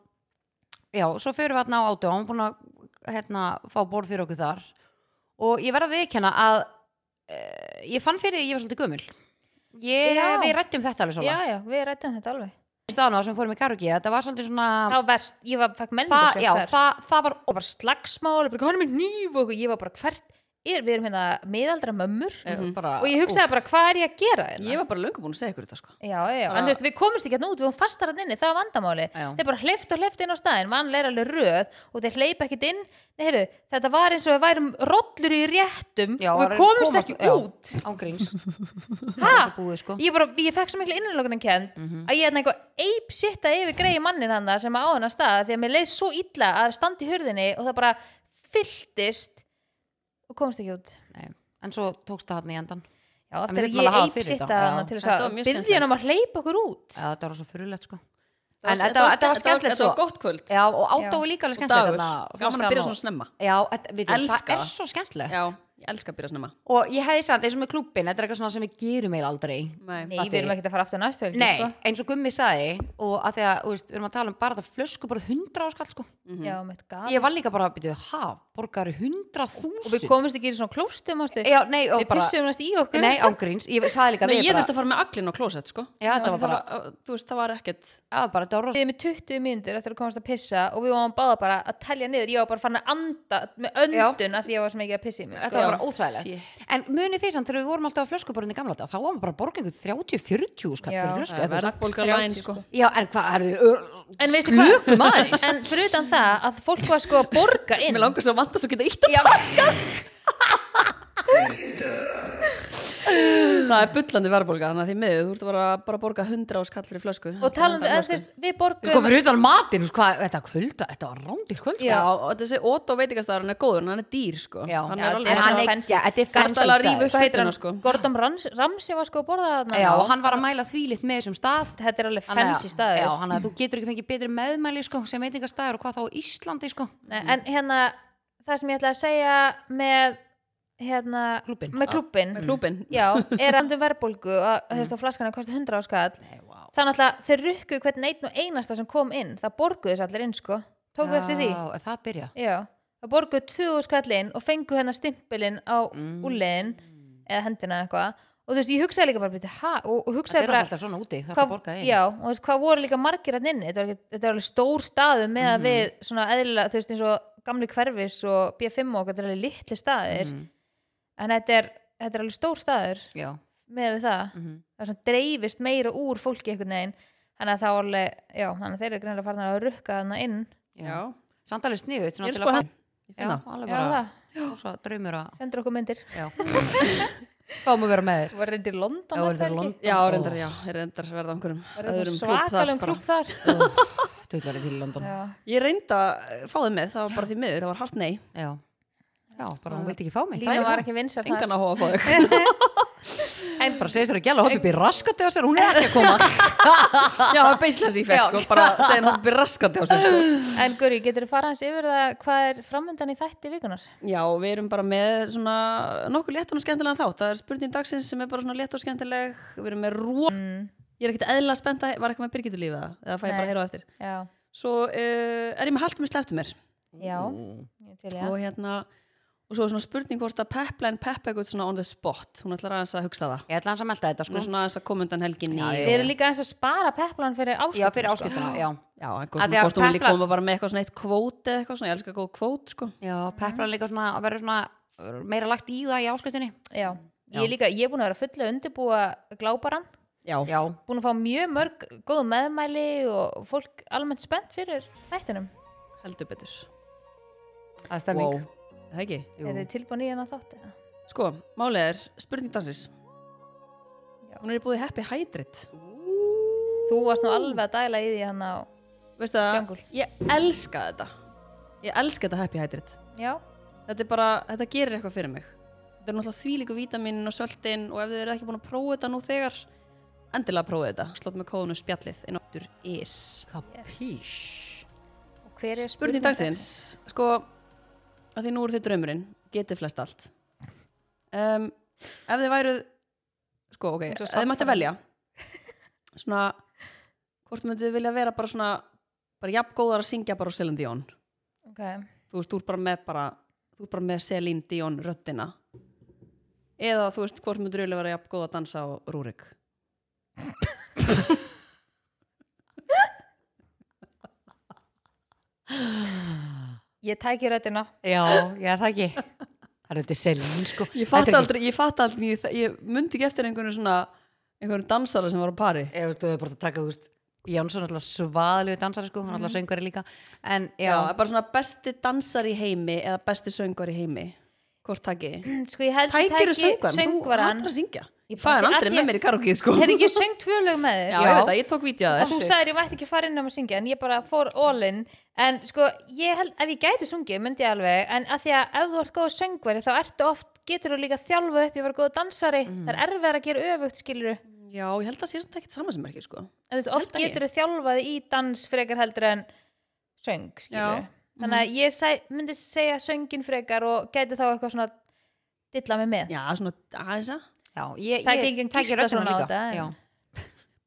Speaker 2: já, svo fyrir við hérna á átu og hann var búin að hérna, fá borð fyrir okkur þar og ég verða að viðkenna að e, ég fann fyrir því að ég var svolítið gömul ég,
Speaker 3: Já.
Speaker 2: við rættum þetta
Speaker 3: já,
Speaker 2: alveg svona
Speaker 3: já, við rættum þetta alveg
Speaker 2: stáðan á sem við fórum í karugji, þetta var svolítið svona
Speaker 3: þá verst, ég var, fekk
Speaker 2: það,
Speaker 3: menningarsök
Speaker 2: já,
Speaker 3: þar
Speaker 2: það, það var
Speaker 3: og bara slagsmál, bara, hann er með nýf og ég var bara hvert er, við erum hérna miðaldra mömmur
Speaker 2: eh, bara,
Speaker 3: og ég hugsaði
Speaker 2: úff.
Speaker 3: bara hvað er ég að gera hérna
Speaker 1: Ég var bara löngu búin að segja ykkur þetta, sko.
Speaker 3: Já, já,
Speaker 1: Bara-
Speaker 3: en þú veist, við komumst ekki hérna út, við vorum fastar hann inni, það var vandamáli
Speaker 2: Já.
Speaker 3: þeir bara hleyft og hleyft inn á staðin, vanlega er alveg röð og þeir hleypa ekkit inn, nei heyrðu þetta var eins og við værum rollur í réttum
Speaker 2: Já,
Speaker 3: og
Speaker 2: það
Speaker 3: við
Speaker 2: er-
Speaker 3: komumst
Speaker 2: komast-
Speaker 3: ekki
Speaker 2: já,
Speaker 3: út
Speaker 2: ángríns,
Speaker 3: ha?
Speaker 2: þessu búið sko
Speaker 3: ég bara, ég fekk svo miklu innanlókunin kend
Speaker 2: Mhm.
Speaker 3: að ég er eitthvað eip sitta yfir greið mannin hann sem á hann að staða því að mér leið svo illa að standa í hurðinni og það bara fylltist og komumst ekki út
Speaker 2: Nei. en svo tókst það hann í endan
Speaker 3: Já,
Speaker 2: En
Speaker 3: eftir
Speaker 2: við
Speaker 3: að
Speaker 2: þurfum alveg að hafa
Speaker 3: ég eip
Speaker 2: fyrir
Speaker 3: sitta
Speaker 2: þetta, já.
Speaker 3: hann til þess
Speaker 1: Þetta var
Speaker 3: að
Speaker 1: mjög
Speaker 3: byggja hann um að hleypa okkur út
Speaker 2: Já, þetta var svo fyrirlegt sko
Speaker 1: Það
Speaker 2: En þetta var- þetta var skemmtilegt
Speaker 1: Þetta
Speaker 2: svo.
Speaker 1: var gott kvöld.
Speaker 2: Já, og
Speaker 3: Já.
Speaker 2: átá er líka alveg
Speaker 1: Og
Speaker 2: skemmtilegt
Speaker 1: dagur.
Speaker 2: þarna,
Speaker 1: Gaman að byrja
Speaker 2: flaskan
Speaker 1: svona snemma.
Speaker 2: og- Já, þetta- við veitum, það
Speaker 1: Elska.
Speaker 2: er svo skemmtilegt
Speaker 1: Já, ég elska að byrja snemma.
Speaker 2: Og ég hefði sagt, eins og með klúbbin, þetta er eitthvað svona sem við gerum eiginlega aldrei
Speaker 1: Nei.
Speaker 3: Nei, við erum ekkert að fara aftur næstu helgi
Speaker 2: Nei,
Speaker 3: sko.
Speaker 2: eins og Gummi sagði og að því að, þú veist, við erum að tala um bara þetta flösku bara 100 áskall, sko
Speaker 3: Já, mitt gaf
Speaker 2: Ég var líka bara að byrja, ha, borgari 100.000
Speaker 3: Ah. og við komumst ekki í svona klóstum ástu
Speaker 2: Já, nei, og
Speaker 3: við
Speaker 2: bara
Speaker 3: pissum næst í okkur
Speaker 2: Nei, ángríns, ég sagði líka
Speaker 1: Nei,
Speaker 2: við
Speaker 1: ég
Speaker 2: bara-
Speaker 1: þurfti að fara með aglin á klósett, sko.
Speaker 2: Já, þetta
Speaker 1: Af
Speaker 2: var
Speaker 1: því það
Speaker 2: bara,
Speaker 1: var, þú veist, það var ekkert eh,
Speaker 2: já, bara, þetta var rosa
Speaker 3: við erum með 20 myndur eftir að komast að pissa og við varum báða bara að telja niður ég var bara farin að anda með öndun af því ég var sem ekki að pissa í mig
Speaker 2: Þetta
Speaker 3: sko.
Speaker 2: var
Speaker 1: Já,
Speaker 2: bara óþægilegt. En munið því samt þegar við vorum alltaf á flöskuborðinni í gamla þetta, þá var maður bara að borga einhver 30-40 skall
Speaker 3: Já.
Speaker 2: fyrir flösku.
Speaker 1: Það
Speaker 2: þetta
Speaker 1: var
Speaker 2: var svo-
Speaker 1: verðbólga læn, sko.
Speaker 2: Já, en hvað, er
Speaker 3: en
Speaker 2: þið
Speaker 3: veistu hvað
Speaker 2: slökum aðeins?
Speaker 3: en fyrir utan það að fólk var sko að borga inn
Speaker 1: Mér langar svo að vanda svo geta ítt að
Speaker 2: Já,
Speaker 1: það er bullandi verðbólga, þannig að því miður, þú ert bara, bara að borga 100 áskall fyrir flösku.
Speaker 3: og talandi en þú veist við borgum
Speaker 2: um sko fyrir utan matinn, sko, þetta kvölda, þetta var rándir kvöld. sko.
Speaker 1: Já, og þessi Otto veitingastæðarinn er góður, en hann er dýr, sko.
Speaker 2: Já.
Speaker 1: hann
Speaker 3: Já,
Speaker 1: er alveg
Speaker 3: þetta
Speaker 2: en
Speaker 3: er
Speaker 2: hann
Speaker 3: svo
Speaker 2: er,
Speaker 3: fancy.
Speaker 2: já, þetta er
Speaker 1: Gott alveg að rífa
Speaker 2: fænstastaður.
Speaker 1: upp.
Speaker 3: hvað heitir hann
Speaker 1: hlutina, sko.
Speaker 3: Gordon Rams- Ramsay var sko að borða þarna
Speaker 2: Já, og hann var að mæla þvílitt með þessum stað.
Speaker 3: þetta er alveg
Speaker 2: Þannig að-
Speaker 3: fensi staður
Speaker 2: Já, hann að þú getur ekki fengið betri meðmæli, sko, sem veitingastæður og hvað þá á Íslandi, sko.
Speaker 3: Nei, en hérna það sem ég ætla að segja með hérna,
Speaker 2: Klúbbinn.
Speaker 3: með klúbin,
Speaker 1: með klúbin.
Speaker 3: já, er að andum verðbólgu og þú veist að flaskana kosti 100 áskall
Speaker 2: Nei, wow.
Speaker 3: þannig að þeir rukkuðu hvern einn og einasta sem kom inn, það borguðu þess allir inn sko, tókuðu eftir því
Speaker 2: Já, það byrja.
Speaker 3: já, það borguðu 20 skall inn og fengu hennar stimpilinn á mm. úliðin eða hendina eða eitthvað og þú veist, ég hugsaði líka bara, byrju, ha, og, og
Speaker 2: Þetta
Speaker 3: hugsaði
Speaker 2: er
Speaker 3: bara
Speaker 2: alltaf svona úti, það er að
Speaker 3: hvað,
Speaker 2: borga einn.
Speaker 3: já, og þú veist, hvað voru líka margir að inni, þetta var, ekki, þetta var alveg stór staður með
Speaker 2: Mm.
Speaker 3: að við svona eðlilega, þú veist, eins og gamli hverfis og B5 og þetta er alveg litli
Speaker 2: Mhm,
Speaker 3: staðir
Speaker 2: Mm.
Speaker 3: en þetta er, þetta er alveg stór staður
Speaker 2: Já. mhm,
Speaker 3: með við það,
Speaker 2: Mm.
Speaker 3: það er svona dreifist meira úr fólki einhvern veginn þannig að það var alveg, já, þannig að þeir eru greinlega farin að rukka þarna inn
Speaker 2: Já. Samt alveg sniðut, svona
Speaker 1: Ég er
Speaker 2: til
Speaker 1: sko
Speaker 2: að
Speaker 1: hann.
Speaker 2: Já,
Speaker 1: Já.
Speaker 2: alveg
Speaker 3: já, það,
Speaker 2: bara, svo draumur að
Speaker 3: sendur okkur myndir
Speaker 2: Já. fáum að vera með þér
Speaker 3: Þú var reyndir í London
Speaker 2: Já,
Speaker 3: næstu
Speaker 2: reyndar í
Speaker 3: helgi.
Speaker 2: London.
Speaker 1: Já,
Speaker 2: Ó.
Speaker 1: reyndar, já, reyndar verða á einhverjum
Speaker 3: Var reyndar
Speaker 1: öðrum klúb þar
Speaker 3: Svakalum
Speaker 1: bara.
Speaker 3: klúb þar
Speaker 2: Þú verður til í London Já,
Speaker 3: Já.
Speaker 1: Ég reynda að fá þið með, það var bara því miður, það var hart nei
Speaker 2: já, bara hún vildi ekki fá mig
Speaker 3: Lína
Speaker 1: er
Speaker 3: var
Speaker 1: gott.
Speaker 3: ekki vinsar þar
Speaker 1: Engan áhuga að fá þig
Speaker 2: En bara segir sér að gæla hoppi upp í raskati á sér Hún er ekki að koma
Speaker 1: Já, það er beislega sér í fekk,
Speaker 2: Já.
Speaker 1: sko, bara segja hann hópið raskandi á sig, sko
Speaker 3: En Guri, getur þú fara hans yfir það hvað er framöndan í þætti vikunar?
Speaker 1: Já, við erum bara með svona nokkuð léttan og skemmtilegan þátt Það er spurning dagsins sem er bara svona létt og skemmtileg Við erum með ró Ég er ekkert eðla spennt að var ekki með Birgitu lífið það Eða fæ ég bara að heyra á eftir
Speaker 3: Já,
Speaker 1: Svo uh, er ég með Hallgrími sleftu mér
Speaker 3: já, ég til já
Speaker 1: og hérna Og svo er svona spurning hvort að pepla en peppa eitthvað svona on the spot Hún ætlar aðeins að hugsa það
Speaker 2: Ég ætla hans að melda
Speaker 1: Hún
Speaker 2: þetta
Speaker 1: er
Speaker 2: sko
Speaker 1: svona aðeins að koma undan helginni
Speaker 2: Já,
Speaker 3: Við erum líka aðeins að spara peplan fyrir sko. áskiptum
Speaker 2: Já, fyrir áskiptuna, já
Speaker 1: Já,
Speaker 2: Að
Speaker 1: eitthvað
Speaker 2: því
Speaker 1: svona
Speaker 2: að
Speaker 1: hvort hún líka
Speaker 2: pepla-
Speaker 1: koma bara með eitthvað svona eitt kvót eða eitthvað svona, ég elska góð kvót sko.
Speaker 2: Já, peplan líka svona að vera svona verður meira lagt í það í áskiptunni
Speaker 3: Já, ég er líka, ég er búin að vera fulla að undirbúa glábaran,
Speaker 1: Já,
Speaker 2: Já,
Speaker 3: búin að fá mjög mörg góð meðmæli og fólk almennt spennt fyrir þættinum.
Speaker 1: heldur betur.
Speaker 2: það er stemming
Speaker 1: Wow. Er Það ekki?
Speaker 2: Jú.
Speaker 3: Er þið tilbúin í hana þátt? eða?
Speaker 1: Sko, málið er spurning dansins. Hún er búið Happy Hydrate.
Speaker 3: Þú varst nú alveg að dæla í því hann á,
Speaker 1: Veistu það?
Speaker 3: Jungle.
Speaker 1: Ég elska þetta. Ég elska þetta Happy Hydrate.
Speaker 3: já,
Speaker 1: Þetta er bara, þetta gerir eitthvað fyrir mig. Þetta er náttúrulega þvílíku vítaminn og söltin og ef þið eru ekki búin að prófa þetta nú þegar, endilega prófa þetta. Slott með kóðunum spjallið inn áttur is.
Speaker 2: Kapís
Speaker 3: og hver er
Speaker 1: Spurning dagsins, sko, að því nú eru þið draumurinn, getið flest allt. Um, ef þið væruð, sko, ok,
Speaker 3: Eins og
Speaker 1: ef þið mætti
Speaker 3: samfara.
Speaker 1: velja, svona, hvort myndu þið vilja vera bara svona, bara jafn góðar að syngja bara á Celine Dion?
Speaker 3: Ok,
Speaker 1: Þú veist, þú ert bara með bara, þú ert bara með Celine Dion röddina. Eða, þú veist, hvort myndu þið vilja vera jafn góð að dansa á Rúrik?
Speaker 3: ég tæki röddina.
Speaker 2: Já, já, það ekki Það er þetta selin, sko
Speaker 1: Ég
Speaker 2: Þetta er
Speaker 1: fatt
Speaker 2: ekki-
Speaker 1: aldrei, ég fatt aldrei, ég, ég myndi ekki eftir einhverjum svona, einhverjum dansara sem var á pari.
Speaker 2: Ég veist, þú hefur bara að taka, þú veist Jónsson er alltaf svaðalegu dansari, sko Hún er alltaf söngari líka En, já,
Speaker 1: Já, bara svona besti dansar í heimi eða besti söngar í heimi Hvort takki?
Speaker 3: Sko, ég held ég
Speaker 1: Tækiru
Speaker 3: tæki
Speaker 1: söngvaran, þú
Speaker 3: söngvaran.
Speaker 1: hattar að syngja
Speaker 3: Ég
Speaker 1: Ég
Speaker 3: bara-
Speaker 1: fæði hann
Speaker 3: af
Speaker 1: aldrei
Speaker 3: því að-
Speaker 1: með mér í karaoke sko
Speaker 3: Hefði ekki söng tvö lög með þér?
Speaker 1: Já, ég
Speaker 2: Já.
Speaker 1: veit að ég tók vítjað
Speaker 3: og þú
Speaker 1: þér
Speaker 3: sagðir ég mætti ekki fara inn um að syngja en ég bara fór all in en sko, ég held, ef ég gæti sungið myndi ég alveg, en að því að ef þú ert góð söngveri þá ertu oft, getur þú líka þjálfuð upp ég var góð dansari,
Speaker 1: Mhm.
Speaker 3: það er erfið að gera öfugt skilur en
Speaker 1: Já, ég held að það sé samt ekkert saman sem er ekki sko
Speaker 3: þú veist, oft
Speaker 1: að ég-
Speaker 3: getur þú þjálfað í dans frekar heldur en söng skilur
Speaker 1: Já. Mhm.
Speaker 3: þannig að ég seg, myndi segja söngin frekar og gæti þá eitthvað svona dilla mig með
Speaker 1: Já, svona aðeins að
Speaker 2: já ég,
Speaker 3: Það er ekki
Speaker 2: ég
Speaker 3: engin
Speaker 2: tæki
Speaker 3: Gísla
Speaker 2: röddina
Speaker 3: svona á
Speaker 2: líka.
Speaker 3: þetta, en-
Speaker 2: Já,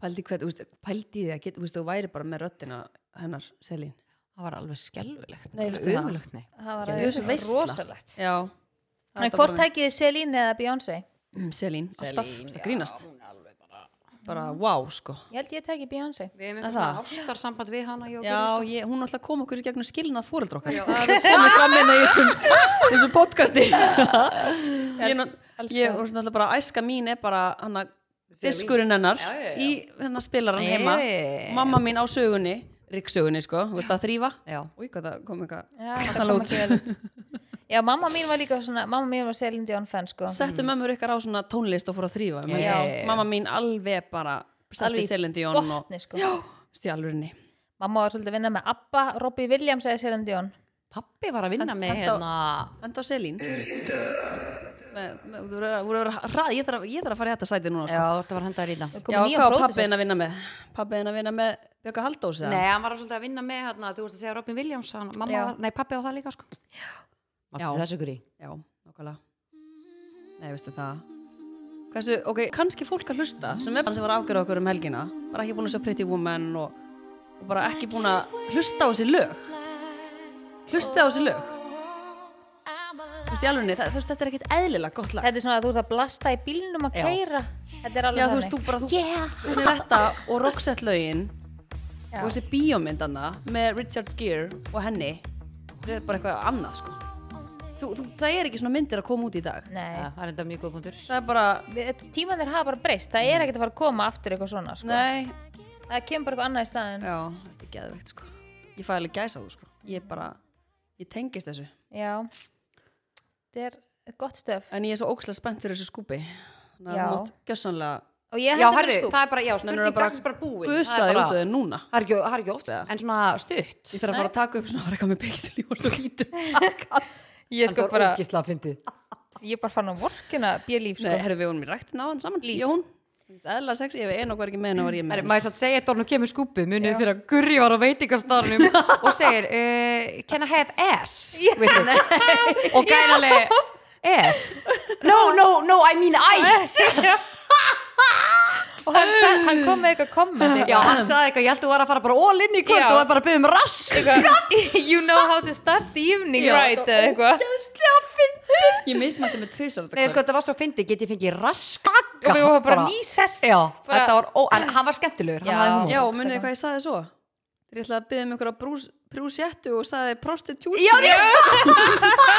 Speaker 1: Pældi hvað, þú veist, pældi þið að geta, þú veist, þú væri bara með röddina hennar, Selín
Speaker 2: það var alveg skelfulegt
Speaker 1: Nei, veistu
Speaker 2: alveg
Speaker 1: það?
Speaker 2: ömulegt, nei
Speaker 3: það var
Speaker 1: Gerðu
Speaker 3: alveg
Speaker 1: þessu veisla.
Speaker 3: rosalegt
Speaker 1: Já
Speaker 3: en hvort tækið þið Selín eða Beyoncé?
Speaker 1: Selín, alltaf, Mm,
Speaker 2: Celine,
Speaker 1: það
Speaker 2: já,
Speaker 1: grínast
Speaker 2: hún er alveg bara-
Speaker 1: Bara, wow, sko
Speaker 3: ég held ég tækið Beyoncé
Speaker 2: Við hefum
Speaker 1: Er
Speaker 2: eitthvað
Speaker 1: það?
Speaker 2: svona ástarsamband við hana ég og
Speaker 1: Já,
Speaker 2: Gísla.
Speaker 1: ég, hún alltaf kom okkur í gegnum skilnað fóreldra okkar Það er komið fram inn í þessum, þessum podcasti Ég, ná-
Speaker 3: elska.
Speaker 1: ég og svona alltaf bara æska mín er bara hana,
Speaker 2: Sér
Speaker 1: diskurinn hennar
Speaker 2: Já, já, já.
Speaker 1: í hennar spilaran
Speaker 2: Nei.
Speaker 1: heima Mamma mín á sögunni, ríksögunni sko, þú veist að þrýfa
Speaker 2: Já,
Speaker 1: Úi, hvað það kom eitthvað
Speaker 3: Já,
Speaker 1: Þetta
Speaker 3: það kom
Speaker 1: lót.
Speaker 3: ekki vel út. Já, mamma mín var líka svona, mamma mín var Celine Dion fan, sko.
Speaker 1: Settu mömmur ykkar á svona tónlist og fór að þrýfa
Speaker 2: Já, já, já.
Speaker 1: Mamma mín alveg bara setti
Speaker 3: Alveg í
Speaker 1: Selin Dion og
Speaker 3: Botni, sko. Já.
Speaker 1: stjálfurinni
Speaker 3: Mamma var svolítið að vinna með Abba, Robbie Williams eða Celine Dion.
Speaker 2: pappi var að vinna
Speaker 1: En-
Speaker 2: með
Speaker 1: en þá-
Speaker 2: hérna
Speaker 1: Enda á Selín Þú verður að- þú verður að hrað Ég þarf að- ég þarf að fara í þetta sæti núna sko.
Speaker 2: Já, þetta var hendar í það
Speaker 3: Það
Speaker 1: Já,
Speaker 3: komið nýjum
Speaker 1: hvað var
Speaker 3: pródusent.
Speaker 1: pappiðin að vinna með? Pappiðin að vinna með Bjöka Haldós eða?
Speaker 2: Nei, hann var svolítið að vinna með hérna Þú veist að segja Robin Williams hann, mamma,
Speaker 3: Já.
Speaker 2: var- Nei, pappi á það líka sko Já
Speaker 1: Já.
Speaker 2: Þessu ykkur í
Speaker 1: Já, nokkulega. Nei, veistu það. Hversu, ok, kannski fólk að hlusta sem er bara sem var að afgjörða okkur um helgina var ekki búin að sjá Pretty Woman og, og bara ekki búin að hlusta á þessi lög. Hlusta á þessi lög. Þú veist, í alvegni, það, þú veist, þetta er ekkit eðlilega gott lag.
Speaker 3: Þetta er svona að þú ert að blasta í bílnum að
Speaker 2: Já.
Speaker 3: keira. Þetta er alveg
Speaker 1: Já, þú veist, þú bara, þú
Speaker 2: Yeah
Speaker 1: finnir þetta og Roxette lögin og þessi bíómyndana með Richard Gere og henni það er bara eitthvað annað sko þú, þú, það er ekki svona myndir að koma út í dag
Speaker 2: Já,
Speaker 3: Nei.
Speaker 2: Það er þetta mjög góð punktur
Speaker 1: það er bara,
Speaker 3: Við- Tímanir hafa bara breyst. Það er ekkert að fara að koma aftur eitthvað svona, sko.
Speaker 1: Mm. nei
Speaker 3: Það kemur bara eitthvað annað í staðin.
Speaker 1: já, þetta er geðveikt sko ég fæ alveg gæsa á þú sko, ég bara ég tengist þessu
Speaker 3: Já. Þetta er gott stöf
Speaker 1: en ég er svo ókslega spennt fyrir þessu skúpi þannig
Speaker 3: Já.
Speaker 1: að þú mátt gjössanlega
Speaker 3: og ég sko.
Speaker 2: já,
Speaker 3: hendur
Speaker 2: herðu,
Speaker 3: bara skúp
Speaker 2: það er bara, já,
Speaker 1: Menn eru
Speaker 2: spurning
Speaker 1: bara
Speaker 2: dagsins bara búin
Speaker 1: gusa þig út af þig núna
Speaker 2: það er ekki, það er ekki oft,
Speaker 1: Já.
Speaker 2: en svona stutt
Speaker 1: ég fyrir að fara að taka upp svona var eitthvað með beitul ég var svo lítið um taka.
Speaker 3: ég sko bara,
Speaker 2: ógisla að fyndi
Speaker 3: ég er bara fann á vorkina björlíf
Speaker 1: nei,
Speaker 3: sko
Speaker 1: herðu við vorum í ræktin á hann saman
Speaker 3: Líf.
Speaker 1: Jón, eðla sex, ég hef einu og var ekki með henni var ég með henni
Speaker 2: maður satt segja þetta orðin og kemur skúpi munið þegar Gurri var á veitingastarnum og segir uh, can I have ass with it og gæðanlega ass no, no, no, I mean ice
Speaker 3: og hann, sa- hann kom með eitthvað komment
Speaker 2: já, hann sagði eitthvað, ég held að þú var að fara bara all in í kvöld
Speaker 3: Já.
Speaker 2: og var bara að byggja um rask
Speaker 3: eitthvað you know how to start the evening
Speaker 2: Já,
Speaker 3: right eða eitthvað
Speaker 1: ég mismælti mig tvisvar þetta
Speaker 2: Nei, sko,
Speaker 1: kvöld.
Speaker 2: þetta var svo fyndi, get ég fengið rask
Speaker 3: og við vorum bara nýsest
Speaker 2: Já, þetta
Speaker 3: bara,
Speaker 2: var, ó, en hann var skemmtilegur, hann
Speaker 3: Já.
Speaker 2: hafði hún
Speaker 1: Já, munið þið hvað ég saði svo? Þegar ég ætlaði að byggja um ykkur að brúsjettu og saði prostitution
Speaker 2: Já, já.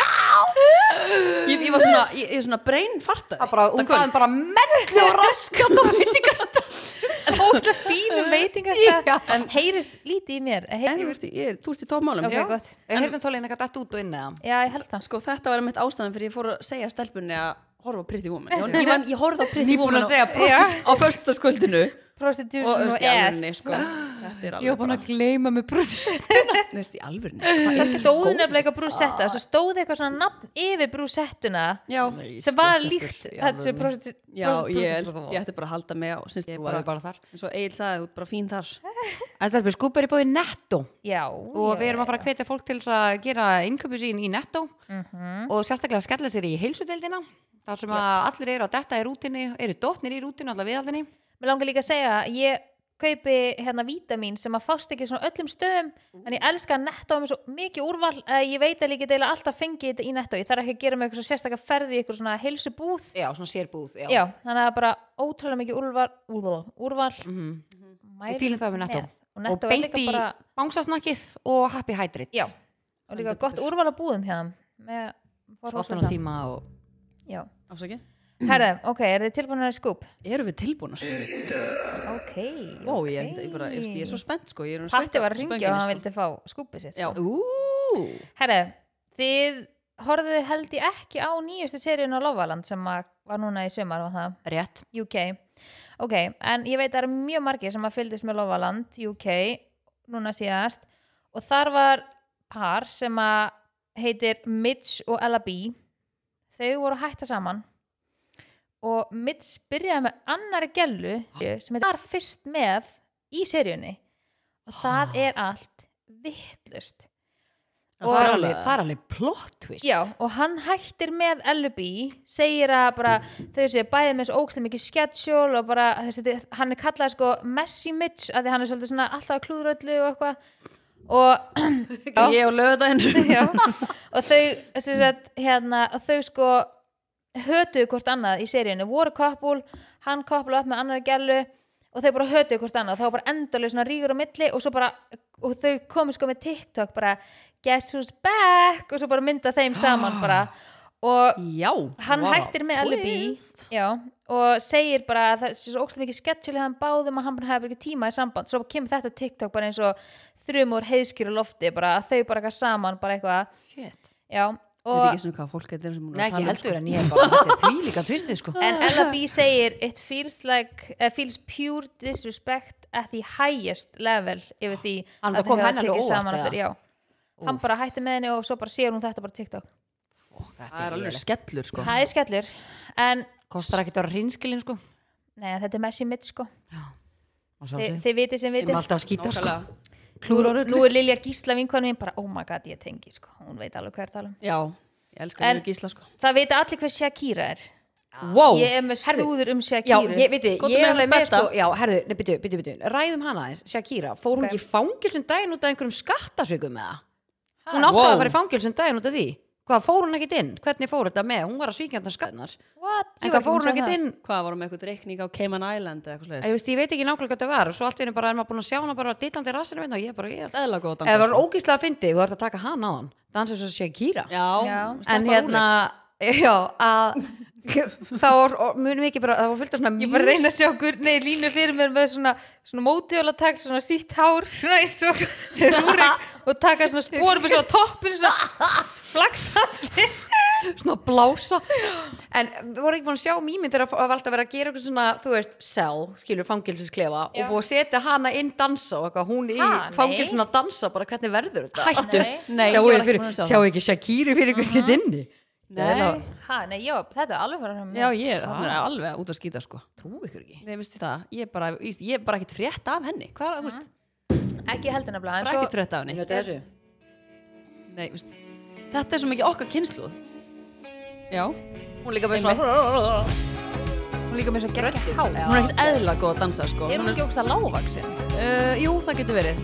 Speaker 1: Ég, ég var svona, ég, ég svona brain fartaði
Speaker 2: Það Ah, bara, hún gaf hann bara mellu og raskat og veitingast
Speaker 3: óslega fínum
Speaker 2: Já.
Speaker 3: veitingast en heyrist lítið í mér
Speaker 1: En þú
Speaker 3: heyrist,
Speaker 1: veist, ég er túrst í tópmálum
Speaker 3: Ok, gott.
Speaker 2: Heyrðum tólinn eitthvað dætt út og inn eða
Speaker 3: já ég held það
Speaker 1: Sko, þetta var mitt ástæðan fyrir ég fór að segja stelpunni að horfa á Pretty Woman Ég, ég, man, ég horfði á Pretty
Speaker 2: Nýbúin
Speaker 1: Woman
Speaker 2: að segja
Speaker 1: á,
Speaker 2: prostitution.
Speaker 1: á föstaskvöldinu og
Speaker 3: prostitution
Speaker 1: þú veist,
Speaker 3: og
Speaker 1: í alvörni,
Speaker 3: ass
Speaker 1: sko Þetta er
Speaker 2: Ég var
Speaker 1: alveg
Speaker 2: búin
Speaker 1: bara
Speaker 2: að gleyma mig brúsið
Speaker 1: Þú veist, í alvörni
Speaker 3: það stóð nefnilega eitthvað brúsetta svo stóð eitthvað svona nafn yfir brúsettuna
Speaker 1: Já,
Speaker 3: sem var líkt þessu prostitu-
Speaker 1: já, ég, held-
Speaker 2: prostitution.
Speaker 1: ég ætti bara að halda mig á snýst, ég
Speaker 2: Þú
Speaker 1: bara,
Speaker 2: var bara þar
Speaker 1: eins og Egil saði, þú ert bara fín þar
Speaker 2: En stelpur, skúpa er í bóði netto
Speaker 3: já
Speaker 2: og við erum að fara að hvetja fólk til þess að gera innköpu sín í netto og sérstaklega skella sér í heilsudeldina þar sem að allir eru að detta í rútinni eru dótnir í rútinni, allar viðaldinni
Speaker 3: Mér langar líka að segja að ég kaupi hérna vítamin sem að fást ekki svona öllum stöðum en ég elska að netto um svo mikið úrval að ég veit að ég get eiginlega alltaf fengið þetta í netto ég þarf ekki að gera með eitthvað sérstakka ferði ykkur svona heilsubúð
Speaker 2: Já, svona sérbúð
Speaker 3: Já, þannig að bara ótrúlega mikið úrval úrval, úrval
Speaker 2: Mhm.
Speaker 3: Mæli
Speaker 2: Við fýlum það með Netto.
Speaker 3: og
Speaker 2: Og
Speaker 3: netto er
Speaker 2: beint
Speaker 3: líka
Speaker 2: í
Speaker 3: bara
Speaker 2: bangsasnakkið og happy hydrates
Speaker 3: já, og líka gott úrval að búðum hérna með fór
Speaker 2: Opnuna tíma og
Speaker 3: Já,
Speaker 1: Ásaki,
Speaker 3: herðu, ok, er þið tilbúinir að skúp?
Speaker 1: eru við tilbúnar?
Speaker 3: Ok,
Speaker 1: Vá, ég, held- ég, bara, ég, veist, ég er svo spennt sko ég er orðin sveitt
Speaker 3: Patti
Speaker 1: af
Speaker 3: var að ringja
Speaker 1: spönginni,
Speaker 3: og hann
Speaker 1: sko.
Speaker 3: vildi fá skúpið sitt
Speaker 1: Já.
Speaker 3: sko.
Speaker 2: Ú,
Speaker 3: Herre, þið horfðu held ég ekki á nýjustu seríun á Lofaland sem að var núna í sumar var það
Speaker 2: rétt
Speaker 3: UK Ok, en ég veit að það eru mjög margir sem að fylgdist með Lofaland UK núna síðast og þar var par sem að heitir Mitch og Ella B þau voru að hætta saman og Mitch byrjaði með annari gellu sem heitir var fyrst með í seríunni og það er allt vittlust
Speaker 1: En
Speaker 2: Það er
Speaker 1: það
Speaker 2: alveg, það er alveg plot twist
Speaker 3: Já, og hann hættir með Ellubi, segir að bara þau séu bæði með svo ógstlega mikið schedule og bara, þessi, þetta- hann er kallað sko Messi Mitch, að því hann er svolítið svona alltaf að klúður öllu og eitthvað og,
Speaker 1: Já. sko. ég og löðaðinn
Speaker 3: já, og þau sem sagt, hérna, og þau sko hötuðu hvort annað í seríunni voru koppul, hann koppul upp með annar gælu og þau bara hötuðu hvort annað og þá var bara endalega svona rígur á milli og svo bara, og þau komu sko með TikTok bara, guess who's back og svo bara mynda þeim saman bara og
Speaker 1: já,
Speaker 3: hann
Speaker 1: vá.
Speaker 3: hættir með alibi
Speaker 2: Twist.
Speaker 3: já, og segir bara að það sé svo ókslega mikið sketsjuleg hann báðum að hann bara hefur ekki tíma í samband svo kemur þetta TikTok bara eins og þrjum úr heiðskjur á lofti bara að þau bara eitthvað saman bara eitthvað
Speaker 2: Shit.
Speaker 3: já,
Speaker 1: ég veit
Speaker 3: og
Speaker 1: ekki svona hvað fólk þetta er sem hún
Speaker 2: Nei,
Speaker 1: er að tala
Speaker 2: ekki
Speaker 1: um, sko.
Speaker 2: heldur en ég hef bara þetta er því líka twistið sko
Speaker 3: en Ella B segir it feels like uh, feels pure disrespect at the highest level yfir því
Speaker 2: Hann
Speaker 3: að
Speaker 2: það kom
Speaker 3: þau hafa
Speaker 2: henni
Speaker 3: tekið
Speaker 2: alveg óvart,
Speaker 3: saman
Speaker 2: eða?
Speaker 3: aftur, já. hann bara hætti með henni og svo bara sér hún þetta bara á TikTok
Speaker 1: það er alveg skellur sko
Speaker 3: það er skellur en
Speaker 2: Kostar ekki að vera hrinskilin sko
Speaker 3: Nei, þetta er Messi mitt sko Þi,
Speaker 2: Að sjálfsögðu.
Speaker 3: Þið vitið sem
Speaker 2: Ég er
Speaker 3: vitið
Speaker 2: alltaf að skýta sko
Speaker 1: Nákvæmlega.
Speaker 2: Klúður
Speaker 3: nú, nú er Lilja Gísla vinkonum mín bara, oh my god, ég tengi sko. hún veit alveg hver talum
Speaker 1: já, ég elskar
Speaker 3: En-
Speaker 1: en, gísla sko
Speaker 3: um. það veit allir hver Shakira er
Speaker 1: Ah, wow,
Speaker 3: ég er með slúður um
Speaker 2: Já,
Speaker 3: Shakira
Speaker 2: ég veit þið,
Speaker 1: Komdu
Speaker 2: ég
Speaker 1: með
Speaker 2: er alveg með
Speaker 1: þetta.
Speaker 2: sko Já, herðu, nei, byttu, byttu, byttu Ræðum hana aðeins, Shakira Fór hún
Speaker 3: Ok.
Speaker 2: ekki í fangilsum daginn út af einhverjum skattasökum með það?
Speaker 3: Ha,
Speaker 2: Hún átti
Speaker 1: Wow.
Speaker 2: að fara í fangilsum daginn út af því Hvað fór hún ekkit inn? Hvernig fór þetta með? Hún var að svíkja hann skattunar
Speaker 3: what? Ég
Speaker 2: En
Speaker 3: var
Speaker 2: hvað fór hún
Speaker 3: búin að sjá
Speaker 2: ekkit
Speaker 3: það.
Speaker 2: inn?
Speaker 1: hvað var hún með eitthvað reikning á Cayman Island eða eitthvað
Speaker 2: Ég,
Speaker 1: slags
Speaker 2: veist, ég veit ekki nákvæmlega hvað það var og svo allt í henni bara er maður búin að sjá hana bara dillandi í rassinu minna og ég bara, ég er
Speaker 1: eðla góð að
Speaker 2: Eða
Speaker 1: dansa
Speaker 2: var hún ógíslega að fyndi, þú ert að taka hana á hann Dansa svo Shakira
Speaker 1: já,
Speaker 3: Já.
Speaker 2: en
Speaker 1: stelpa
Speaker 2: hérna já, að þá var- og munum við ekki bara, það var fullt af svona
Speaker 3: ég bara reyna
Speaker 2: memes.
Speaker 3: að sjá hver, nei, línu fyrir mér með svona, svona mótiólatak, svona sítt hár svona eins og þegar úr og taka svona spórum eins og á toppin svona flaksandi
Speaker 2: svona blása en við vorum ekki búin að sjá mými þegar það var alltaf verið að gera eitthvað svona, þú veist, cell skilur fangilsisklefa og
Speaker 3: Já.
Speaker 2: búið að setja hana inn dansa og eitthvað, hún
Speaker 3: Ha,
Speaker 2: í
Speaker 3: nei.
Speaker 2: fangilsin að dansa, bara hvernig verður þetta
Speaker 1: Hættu,
Speaker 3: Nei.
Speaker 1: nei, ég
Speaker 2: sjáu,
Speaker 1: var
Speaker 2: ekki
Speaker 1: ekki
Speaker 2: fyrir,
Speaker 1: búin að sjá
Speaker 2: sjáu
Speaker 1: það.
Speaker 2: ekki Shakiri fyrir ykkur sitt inni
Speaker 1: Nei,
Speaker 3: ha, nei, já, þetta er alveg fyrir hann
Speaker 1: já, ég er þarna er alveg út að skýta sko.
Speaker 2: trú ykkur ekki
Speaker 1: Nei, veistu það, ég er bara, ég ég er bara ekkert frétt af henni Hvað, þú veist,
Speaker 3: ekki heldur nefnilega en
Speaker 1: bara
Speaker 3: svo-
Speaker 1: ekkert frétt af henni
Speaker 2: þessu
Speaker 1: Nei, veistu, þetta er svo mikið okkar kynsluð Já,
Speaker 2: hún er líka bara
Speaker 1: einmitt
Speaker 2: svona
Speaker 1: Hún
Speaker 3: hún líka með þess að gegja hál
Speaker 2: Já.
Speaker 1: er ekkert eðla góð að dansa sko
Speaker 3: er hún
Speaker 1: Hún
Speaker 3: ekki ógst að lágvaksin
Speaker 1: Uh, jú, það getur verið.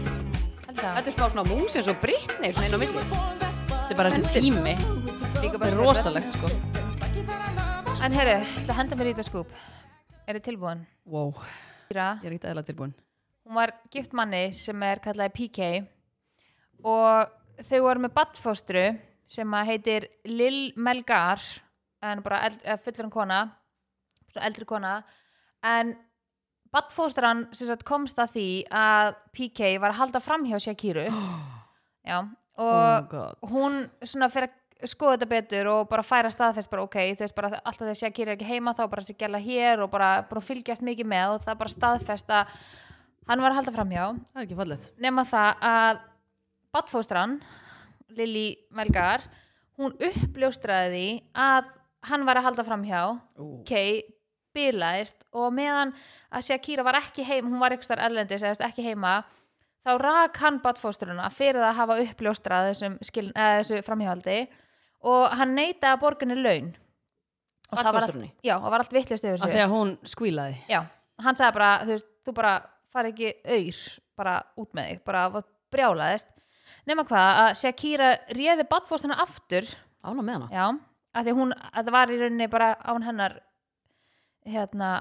Speaker 3: þetta
Speaker 2: þetta er smá svona mús eins og Britney svona inn á milli
Speaker 1: Þetta er bara þessi tími.
Speaker 3: líka
Speaker 1: Þetta er rosalegt, sko.
Speaker 3: en herru, ég ætla að henda mér í þetta skúp er þið tilbúin?
Speaker 1: Wow,
Speaker 3: Íra,
Speaker 1: ég er ekkert eðla tilbúin.
Speaker 3: hún var gift manni sem er kallaði PK og þau voru með badfóstru sem að heitir Lil Melgar en bara eld, eh, fullorinn kona svona eldri kona en badfóstran sem sagt komst að því að PK var að halda fram hjá Shakiru já,
Speaker 1: Oh my
Speaker 3: og
Speaker 1: god.
Speaker 3: hún svona fyrir að skoða þetta betur og bara færa staðfest bara ok, þú veist bara alltaf þegar Shakira er ekki heima þá bara þessi gæla hér og bara, bara fylgjast mikið með og það bara staðfest að hann var að halda framhjá
Speaker 1: Það er ekki fallegt.
Speaker 3: nema það að badfóstran Lili Melgar hún uppljóstraði því að hann var að halda framhjá ok, bilaðist og meðan að Shakira var ekki heima hún var ekki starf erlendis, eða þú veist, ekki heima þá rak hann badfóstruna fyrir það að hafa uppljóstrað þessum, skil, eða, þessu framhjáldi og hann neitaði að borginni laun Allt
Speaker 2: Og
Speaker 3: var allt-
Speaker 2: badfóstrunni?
Speaker 3: já, og var allt vittlust yfir
Speaker 1: Af því að hún skvílaði.
Speaker 3: Já, hann sagði bara, þú veist, þú bara fari ekki auður, bara út með þig, bara var brjálaðist. Nema hvað, að Shakira réði badfóstana aftur,
Speaker 2: ána með hana
Speaker 3: já, að því hún, að það var í rauninni bara án hennar, hérna,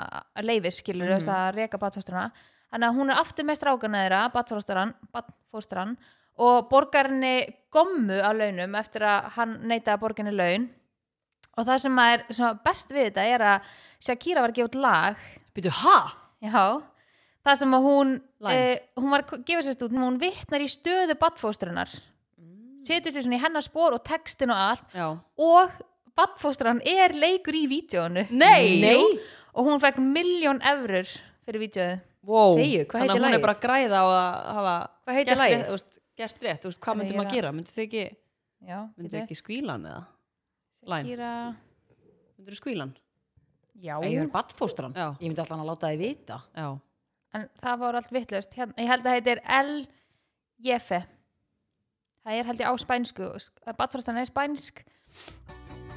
Speaker 3: leifis, skilur þess að reka badfóstana. Þannig að hún er aftur með strákana þeirra, badfóstran, badfóstran og borgar henni gommu á launum eftir að hann neitaði að borga henni laun. Og það sem er sem var best við þetta er að Shakira var að gefa út lag
Speaker 1: Býtu, ha?
Speaker 3: Já, það sem að hún
Speaker 1: Lime.
Speaker 3: uh, hún var að gefa sér stúd hún vittnar í stöðu badfóstrunar
Speaker 2: Mm.
Speaker 3: setur sér svona í hennar spór og textin og allt
Speaker 1: Já.
Speaker 3: og badfóstran er leikur í vídjónu
Speaker 1: Nei!
Speaker 2: Nei.
Speaker 3: og hún fekk miljón evrur fyrir vídjóðu
Speaker 1: Wow.
Speaker 2: Þegju, hvað heitir
Speaker 1: Þannig að hún
Speaker 2: lagið?
Speaker 1: er bara að græða á að hafa
Speaker 2: Hvað heitir
Speaker 1: gert
Speaker 2: lagið?
Speaker 1: rétt, þú veist, gert rétt, þú veist, hvað
Speaker 3: Þannig
Speaker 1: myndum
Speaker 3: ég er
Speaker 1: að
Speaker 3: að-
Speaker 1: gera? Myndu þau ekki,
Speaker 3: Já,
Speaker 1: myndu þau
Speaker 3: bíddu.
Speaker 1: ekki skvílan eða? Læn,
Speaker 3: Kýra
Speaker 1: myndu þau skvílan?
Speaker 3: Já,
Speaker 2: Æ, ég er badfóstran,
Speaker 1: Já.
Speaker 2: ég myndi alltaf að láta þið vita
Speaker 1: Já.
Speaker 3: en það var allt vittlust hérna, ég held að það heitir El Jefe það er held ég á spænsku badfóstran er spænsk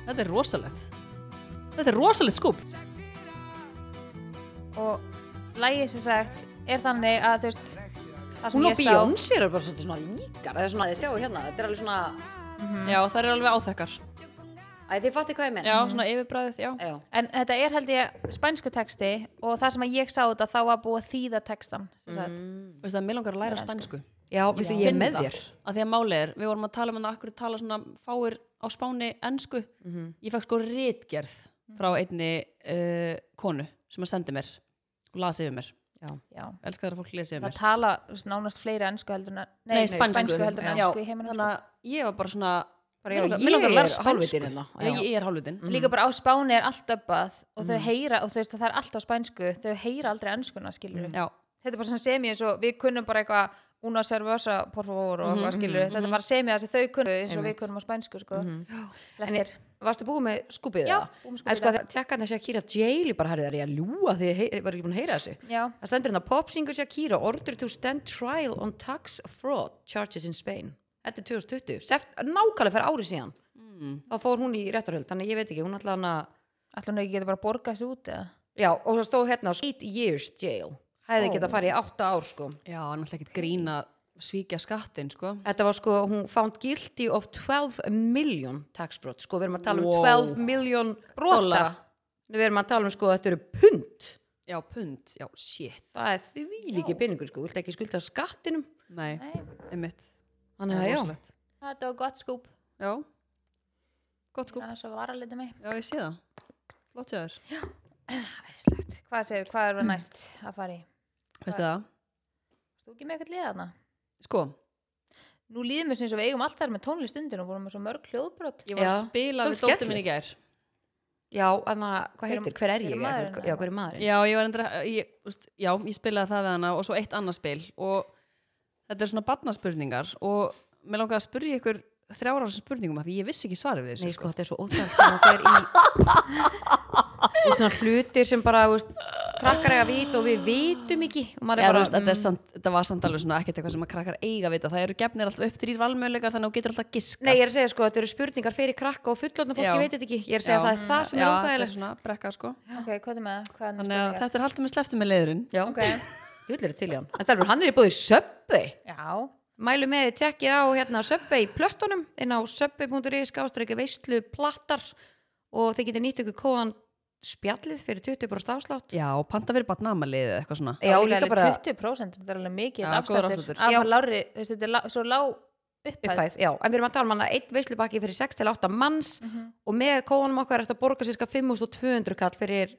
Speaker 1: Þetta er rosalegt. Þetta er rosalegt skúp.
Speaker 3: og lægið sem sagt er þannig að þú veist það sem
Speaker 2: hún og
Speaker 3: ég sá-
Speaker 2: Beyoncé eru bara svolítið svona líkar eða svona, þið sjáu hérna, þetta er alveg svona
Speaker 1: Já, það er alveg áþekkar.
Speaker 2: æ, þið fattir hvað ég menn
Speaker 1: Já, svona yfirbræðið, já.
Speaker 2: Já.
Speaker 3: En þetta er held ég spænsku texti og það sem að ég sá þetta þá var búið að þýða textan.
Speaker 1: Mhm.
Speaker 3: Mm.
Speaker 1: Veistu það, mér langar að læra spænsku.
Speaker 2: Já, veistu, ég er með þér
Speaker 1: Að því að máli er, við vorum að tala um hann að akkur tala svona fáir á spáni ensku. Ég fekk sko rítgerð frá einni uh, konu sem að sendi mér og lasi yfir mér.
Speaker 3: Já.
Speaker 1: Elskar það að fólk lesi yfir
Speaker 3: Það
Speaker 1: mér.
Speaker 3: tala nánast fleiri ennsku heldur en nei,
Speaker 1: Nei, spænsku.
Speaker 3: heldur en
Speaker 1: Já,
Speaker 3: ennsku í heiminum.
Speaker 1: Þannig
Speaker 3: sko.
Speaker 1: að ég var bara svona,
Speaker 2: Bara,
Speaker 1: mér
Speaker 2: já,
Speaker 1: langar-
Speaker 2: ég
Speaker 1: mér langar að læra
Speaker 2: er
Speaker 1: spænsku.
Speaker 2: hálfviti hérna,
Speaker 1: Já,
Speaker 2: já.
Speaker 1: Ég er hálfutin.
Speaker 3: Líka bara á Spáni er allt öppað og
Speaker 1: Mhm.
Speaker 3: þau heyra, og þú veist að það er allt á spænsku, þau heyra aldrei ennskuna, skilur
Speaker 1: Mhm. Já,
Speaker 3: Þetta er bara svona semi eins og við kunnum bara eitthvað una servosa, por favor og
Speaker 1: Mhm,
Speaker 3: eitthvað skilur Þetta er bara semi að þau kunnum eins og við kunnum á spænsku, sko.
Speaker 1: Mhm.
Speaker 3: Flestir.
Speaker 2: Varstu búið með skúpið
Speaker 3: Já,
Speaker 2: það?
Speaker 3: búin með
Speaker 2: En sko,
Speaker 3: skúbbið
Speaker 2: það tjekka hann að Shakira Jaili bara herrið þar ég að ljúa því ég var ekki búin að heyra þessu.
Speaker 3: Já.
Speaker 2: Það stendur hérna popsingur Shakira order to stand trial on tax fraud charges in Spain. Þetta er 2020. Seft, nákvæmlega fyrir ári síðan. Þá fór hún í réttarhöld, þannig að ég veit ekki, hún alltaf hann að,
Speaker 3: Ætlar hún ekki geta bara að borga þessu út eða?
Speaker 2: já, og það stóð hérna 8 years jail. Hæði oh. geta farið í 8 ár sko.
Speaker 1: já, náttúrulega ekkert grína svíkja skattin, sko.
Speaker 2: Þetta var sko, hún found guilty of 12 million tax fraud. Sko, við erum að tala um
Speaker 1: Wow.
Speaker 2: 12 million brota.
Speaker 1: Dollara.
Speaker 2: Við erum að tala um sko, þetta eru pund.
Speaker 1: Já, pund, já, shit.
Speaker 2: Það er því líki peningur sko, vilt ekki skulda skattinum
Speaker 1: Nei,
Speaker 3: Nei,
Speaker 1: einmitt.
Speaker 2: Þannig að já,
Speaker 1: Rosalegt.
Speaker 3: þetta var gott skúp.
Speaker 1: Já, gott skúp.
Speaker 3: Það er svo varalitið mig.
Speaker 1: Já, ég sé það. Flott hjá þér.
Speaker 3: Æðislegt. Hvað segir, hvað er það næst að fara í?
Speaker 1: Veistu það?
Speaker 3: Þú ekki með eitthvað liðana?
Speaker 1: Sko,
Speaker 3: nú líðum við sem eins og við eigum allt þar með tónlist undir og vorum með svo mörg hljóðbrot
Speaker 1: Ég var að
Speaker 2: Já.
Speaker 1: spila við
Speaker 2: Svolítið
Speaker 1: dóttur minn í gær
Speaker 2: já, en það, hvað
Speaker 3: Hver-
Speaker 2: heitir, hver er
Speaker 3: hver er
Speaker 2: ég
Speaker 3: maðurinn,
Speaker 2: já, hver er maðurinn
Speaker 1: Já, ég var endur ég, úst, Já, ég spilaði það við hana og svo eitt annað spil og þetta er svona barnaspurningar og mér langaði að spurja ykkur þrjára spurningum að því ég vissi ekki svarið við þessu
Speaker 2: Nei, sko, þetta er svo óþægt það fer í og svona hlutir sem bara, þú veist krakkar eiga að vita og við vitum ekki og maður
Speaker 1: Eða,
Speaker 2: er
Speaker 1: þú
Speaker 2: bara, mm.
Speaker 1: veist, þetta, er samt, þetta var samt alveg svona ekkert eitthvað sem að krakkar eiga að vita það eru gefnir alltaf upp þrýr valmöðleikar þannig að þú getur alltaf giska
Speaker 2: nei, ég er að segja, sko, þetta eru spurningar fyrir krakka og fullotna fólki
Speaker 1: Já.
Speaker 2: veit þetta ekki, ég er að segja að það er það sem
Speaker 1: já,
Speaker 2: er
Speaker 1: þetta
Speaker 2: óþægilegt
Speaker 1: svona brekka sko
Speaker 3: ok, hvað er með, hvað er með
Speaker 1: þannig að
Speaker 3: spurningar
Speaker 1: þetta er haldur með sleftum með leiðurinn
Speaker 2: já, ok, dullir til í hann en stelfur, hann er í búið söpvi
Speaker 3: já,
Speaker 2: mælu með þið tjekkið á hérna söpvi í plöttunum inn á söpvi.is skástrækja veistlu plattar og þið getur nýtt ykkur kóðan spjallið fyrir 20% afslátt
Speaker 1: já, og panta fyrir barnamalið eða eitthvað svona
Speaker 2: já, líka
Speaker 3: alveg
Speaker 2: bara
Speaker 3: 20% þetta er alveg mikið
Speaker 1: Já, góður
Speaker 3: afslættur
Speaker 1: afsláttur.
Speaker 3: af
Speaker 2: Já.
Speaker 3: lári, þú veist, þetta er lá, svo lág upphæð,
Speaker 2: upphæð, já, en við erum að tala um hann að eitt veislubakki fyrir 6-8 manns og með kóðanum okkar er þetta að borga cirka 5200 kall fyrir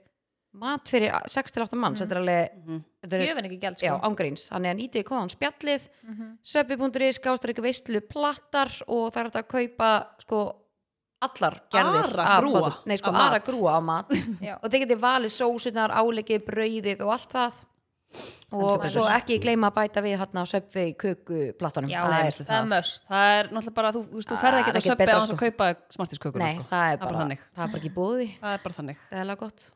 Speaker 2: mat fyrir 6-8 manns, þetta er alveg þetta er,
Speaker 3: gjöfin ekki gjald sko.
Speaker 2: já, ángríns, hann er að nýtið kóðan spjallið
Speaker 3: mm
Speaker 2: söpbi.is, gástrík veistlu plattar og það er hægt að kaupa sko allar gerðir
Speaker 1: Ara
Speaker 2: af
Speaker 1: grúa
Speaker 2: matum. nei, sko,
Speaker 1: af mat.
Speaker 2: ara grúa á mat
Speaker 3: Já.
Speaker 2: og þeir getið valið sósunar, áleikið, brauðið og allt það og
Speaker 1: Heldur
Speaker 2: svo
Speaker 1: betur.
Speaker 2: ekki gleyma að bæta við hérna á söpvi köku plattanum
Speaker 3: Já,
Speaker 2: það
Speaker 3: nei,
Speaker 2: er
Speaker 3: veistu, það er möst
Speaker 1: það er náttúrulega bara, þú, þú, veist, þú ferði
Speaker 2: Það er
Speaker 1: ekki að
Speaker 2: ekkert
Speaker 1: söpja
Speaker 2: betra,
Speaker 1: á hans
Speaker 2: sko.
Speaker 1: að kaupa smartiskökuna
Speaker 2: Nei,
Speaker 1: sko.
Speaker 2: það er bara,
Speaker 1: þannig
Speaker 2: það er bara ekki búði
Speaker 1: það er bara þannig,
Speaker 2: Það er alveg gott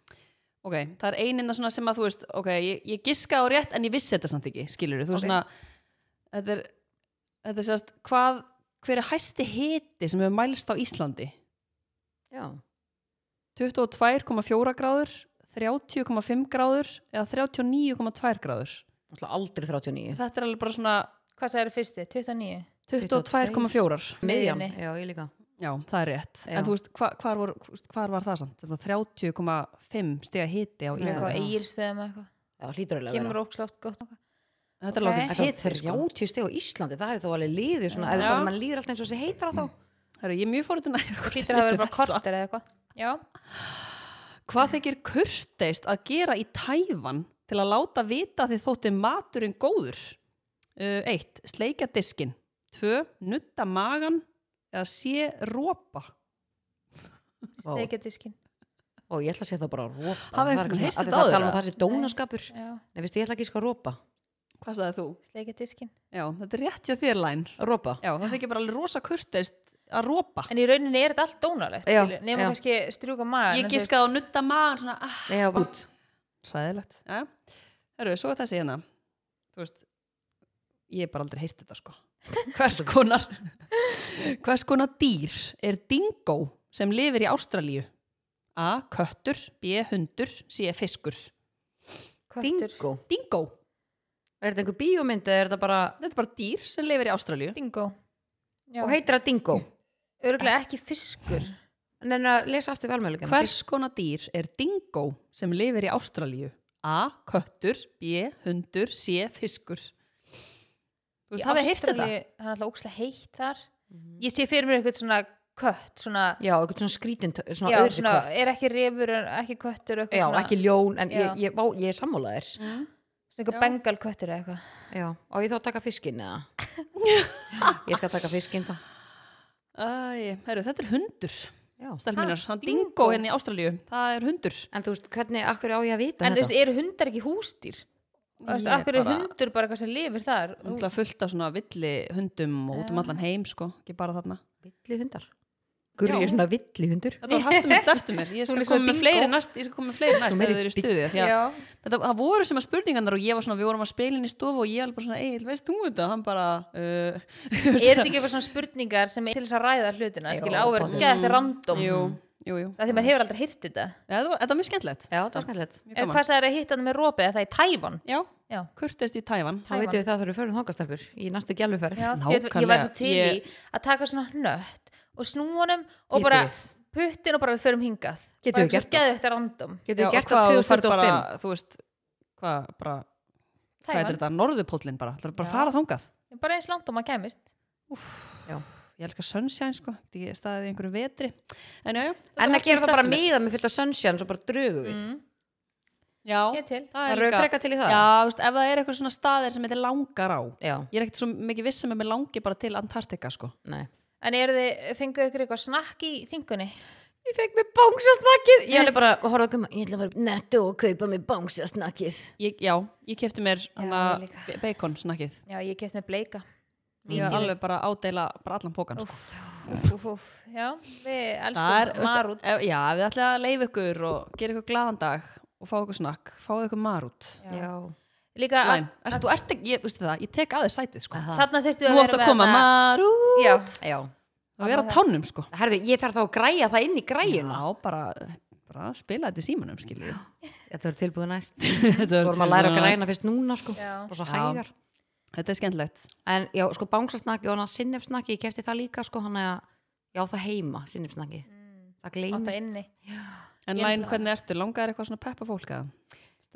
Speaker 1: ok, það er eininna svona sem að þú veist, ok, ég, ég giska á rétt en ég vissi þetta samt ekki, skilur þú
Speaker 2: Ok.
Speaker 1: svona þetta er, þetta er sérst hvað, hver er hæsti hiti sem hefur mælst á Íslandi
Speaker 2: Já,
Speaker 1: 22,4 gráður 30,5 gráður eða 39,2 gráður
Speaker 2: alltaf aldrei 39
Speaker 1: þetta er alveg bara svona
Speaker 3: hvað sagði fyrsti, 29
Speaker 1: 22,4
Speaker 2: Miðjan,
Speaker 3: Miðjunni.
Speaker 2: já ég líka
Speaker 1: já, það er rétt
Speaker 2: Já.
Speaker 1: en þú veist, hva, hvar, vor, hvar var það samt? Það var 30,5 stiga hiti á
Speaker 2: Já.
Speaker 1: Íslandi
Speaker 3: eitthvað eigirstöðum eitthvað,
Speaker 2: Já, hlýtur alveg að
Speaker 3: kemur
Speaker 2: vera
Speaker 3: ókslátt gott eitthvað.
Speaker 1: þetta er
Speaker 3: Ok.
Speaker 1: lágins
Speaker 2: Það er
Speaker 1: hiti sko.
Speaker 2: 30 stig á Íslandi, það hefur þá alveg liðið svona, eða
Speaker 1: Já.
Speaker 2: svona, mann líður alltaf eins og þessi heitra þá
Speaker 1: Heru, ég er mjög fórutin að
Speaker 3: og hlýtur að hafa verið bara kortir eða eitthvað já,
Speaker 1: hvað þykir kurteist að gera í tæfan til að láta vita að þið þótti maturinn góður uh, eitt, sleika diskin tvö, nutta magan eða sé rópa
Speaker 2: Vá.
Speaker 3: steikjadiskin
Speaker 2: Og ég ætla að segja það bara að ropa
Speaker 1: Hafið
Speaker 2: Það er
Speaker 1: einhvern
Speaker 2: eitthvað
Speaker 1: heyrt
Speaker 2: svona- af því
Speaker 1: þetta
Speaker 2: Það
Speaker 1: áður,
Speaker 2: tala um að
Speaker 1: eða?
Speaker 2: það sé dónaskapur Nei, veistu, ég ætla ekki sko að ropa
Speaker 1: hvað sagði þú?
Speaker 3: steikjadiskin
Speaker 1: Já, þetta er rétt hjá þér læn
Speaker 2: Ropa
Speaker 1: Já, það þykir bara alveg rosa kurteist að rópa
Speaker 3: en í rauninni er þetta allt dónalegt
Speaker 2: Já,
Speaker 3: nema
Speaker 2: já.
Speaker 3: kannski strjúka maður
Speaker 1: Ég giskaði á nutta magan svona ah,
Speaker 2: Nei, já, bútt
Speaker 1: Ræðilegt ja. Herru, svo er þessi hérna Þú veist, ég hef bara aldrei heyrt þetta sko Hvers konar Hvers konar dýr er dingó sem lifir í Ástralíu A. Köttur, B. Hundur C. Fiskur
Speaker 2: Bingo
Speaker 1: Dingó,
Speaker 2: Er þetta einhver bíómynd eða er þetta bara
Speaker 1: þetta er bara dýr sem lifir í Ástralíu
Speaker 3: bingo já,
Speaker 2: Og heitir það dingo
Speaker 3: örgulega ekki fiskur
Speaker 2: Nei, að lesa aftur velmjölugan
Speaker 1: Hvers konar dýr er dingó sem lifir í Ástralíu? A. Köttur, B. Hundur, C. Fiskur Þú veist, hafið þið heyrt þetta?
Speaker 3: það er alltaf ókslega heitt þar
Speaker 2: Mhm.
Speaker 3: ég sé fyrir mér eitthvað svona kött svona
Speaker 2: Já, einhvern svona skrítin, tö- svona
Speaker 3: já,
Speaker 2: öðru
Speaker 3: svona,
Speaker 2: kort
Speaker 3: er ekki refur, en ekki köttur eitthvað
Speaker 2: Já,
Speaker 3: svona,
Speaker 2: ekki ljón, en
Speaker 3: Já.
Speaker 2: ég, ég, vá, ég er sammála þér
Speaker 3: svona eitthvað bengal köttur eða eitthvað
Speaker 2: Já, og ég þá að taka fiskinn eða? ég skal taka fiskinn þá.
Speaker 1: Æ, heru, þetta er hundur
Speaker 2: Já.
Speaker 1: Stelminar,
Speaker 3: Ha,
Speaker 1: hann
Speaker 3: dingó.
Speaker 1: dingó hérna í Ástralíu Það er hundur
Speaker 2: En þú veist, hvernig, akkur á ég að vita
Speaker 3: en þú
Speaker 2: þetta?
Speaker 3: veist, eru hundar ekki hústýr? Þú veist,
Speaker 1: Ég
Speaker 3: akkur er
Speaker 1: bara-
Speaker 3: hundur bara eitthvað sem lifir þar
Speaker 1: Það fullt af svona villi hundum og út um
Speaker 3: Já.
Speaker 1: allan heim sko, ekki bara þarna
Speaker 2: Villi hundar. Gurri er svona villi hundur.
Speaker 1: Þetta var haltum í sleftum mér, ég
Speaker 3: Hún
Speaker 1: skal
Speaker 3: er svo
Speaker 1: koma með
Speaker 3: dingó.
Speaker 1: fleiri næst Ég skal koma með fleiri næst
Speaker 2: meiri
Speaker 1: þegar þau eru í stuði af því að
Speaker 3: já,
Speaker 1: þetta, Það voru sem að spurningarnar og ég var svona, við vorum að spilin í stofu og ég alveg bara svona, Egil, veist þú þetta? Hann bara, uh,
Speaker 3: er þetta ekki eitthvað svona spurningar sem er til þess að ræða hlutina
Speaker 2: Jú,
Speaker 3: skilja áverð,
Speaker 2: pottet.
Speaker 3: geða þetta random
Speaker 1: jú, jú, jú
Speaker 3: það því maður hefur aldrei hýrt þetta
Speaker 1: Ja, Þetta var, þetta var mjög skemmtilegt
Speaker 2: Já, það er skallett.
Speaker 1: Mjög
Speaker 3: en
Speaker 1: gaman.
Speaker 3: hvað sagði að hitta hann með rópi, það er tævan
Speaker 1: Já,
Speaker 3: já,
Speaker 1: kurtist í Tævan
Speaker 2: Þá veitum við það þurfum við fyrir þangastarpur í næstu gæluferð.
Speaker 3: Já,
Speaker 1: Nákvæmlega.
Speaker 3: ég, veit- ég var svo til
Speaker 1: Ég-
Speaker 3: í að taka svona nött og snúanum og
Speaker 2: Getið
Speaker 3: bara
Speaker 2: þið.
Speaker 3: puttin og bara við förum hingað
Speaker 2: Getum
Speaker 3: bara
Speaker 2: við gert
Speaker 3: það? Geðu þetta random
Speaker 2: Getum
Speaker 1: Já, og
Speaker 2: við gert
Speaker 1: hvað,
Speaker 2: það
Speaker 1: þú færð
Speaker 2: 2025?
Speaker 1: bara, Þú veist, hvað, bara, hvað er
Speaker 3: Tævan,
Speaker 1: þetta? Norðupóllin bara, það er bara
Speaker 3: Já.
Speaker 1: að fara þangað
Speaker 3: bara eins langt og maður kemist
Speaker 1: ég elskar sunshine sko, ég staðið í einhverju vetri en já, já, þetta var allt
Speaker 2: En að gera
Speaker 1: mjög
Speaker 2: það bara
Speaker 1: skemmtilegt.
Speaker 2: miða með fullt af sunshine, svo bara drögu við.
Speaker 3: Mm.
Speaker 1: Já,
Speaker 3: Ég er til.
Speaker 1: það er
Speaker 2: Það eru
Speaker 1: líka-
Speaker 2: frekar til í það.
Speaker 1: Já, þú veist, ef það er eitthvað svona staðir sem þetta langar á
Speaker 2: já,
Speaker 1: Ég er ekkert svo mikið viss sem að mér langi bara til Antartika, sko
Speaker 2: nei
Speaker 3: En eru þið, fenguðu ykkur eitthvað snakk í þingunni?
Speaker 2: Ég fekk mér bóngsasnakkið Ég ætla bara að horfa að gumma
Speaker 4: Ég ætla að fara upp netto og kaupa mig bóngsasnakkið.
Speaker 1: ég, Já, ég kefti mér hana,
Speaker 3: ég líka.
Speaker 1: be- bacon snakkið
Speaker 3: Já, ég keft með bleika.
Speaker 1: Ég var alveg bara að ádeila bara allan pókan, sko
Speaker 3: Úf, úf, já, við
Speaker 1: Það er,
Speaker 3: elskum
Speaker 1: veist,
Speaker 3: marút.
Speaker 1: ef- Já, ef við ætlum að leifa ykkur og gera ykkur glaðan dag og fá ykkur snakk, fáðu ykkur marút
Speaker 2: Já,
Speaker 3: Líka, að-
Speaker 1: Læn, er, þú ert ekki, ég, veistu það, ég tek aðeins sætið, sko
Speaker 2: Aha.
Speaker 3: þarna þurftu að
Speaker 1: Nú átt að koma
Speaker 3: þarna-
Speaker 1: marút
Speaker 3: Já,
Speaker 2: já
Speaker 1: að vera á tánum, sko
Speaker 2: Herðu, ég þarf þá að græja það inn í græjuna
Speaker 1: Já, bara, bara spila þetta í símanum, skilur
Speaker 2: Þetta verður tilbúið næst
Speaker 1: Þetta
Speaker 2: Þú vorum að læra að græna fyrst núna sko
Speaker 3: Já.
Speaker 2: Bara svo
Speaker 1: Já.
Speaker 2: hægar
Speaker 1: Þetta er skemmtilegt
Speaker 2: En já, sko bángsasnakki og hana sinnefsnakki Ég kefti það líka sko hann að Já, það heima, sinnefsnakki
Speaker 3: átt
Speaker 2: Það
Speaker 3: að
Speaker 2: gleymist
Speaker 3: inni.
Speaker 1: En
Speaker 3: Ég-
Speaker 1: Læn, hvernig ertu? Langaðir eitthvað svona peppa fólk að?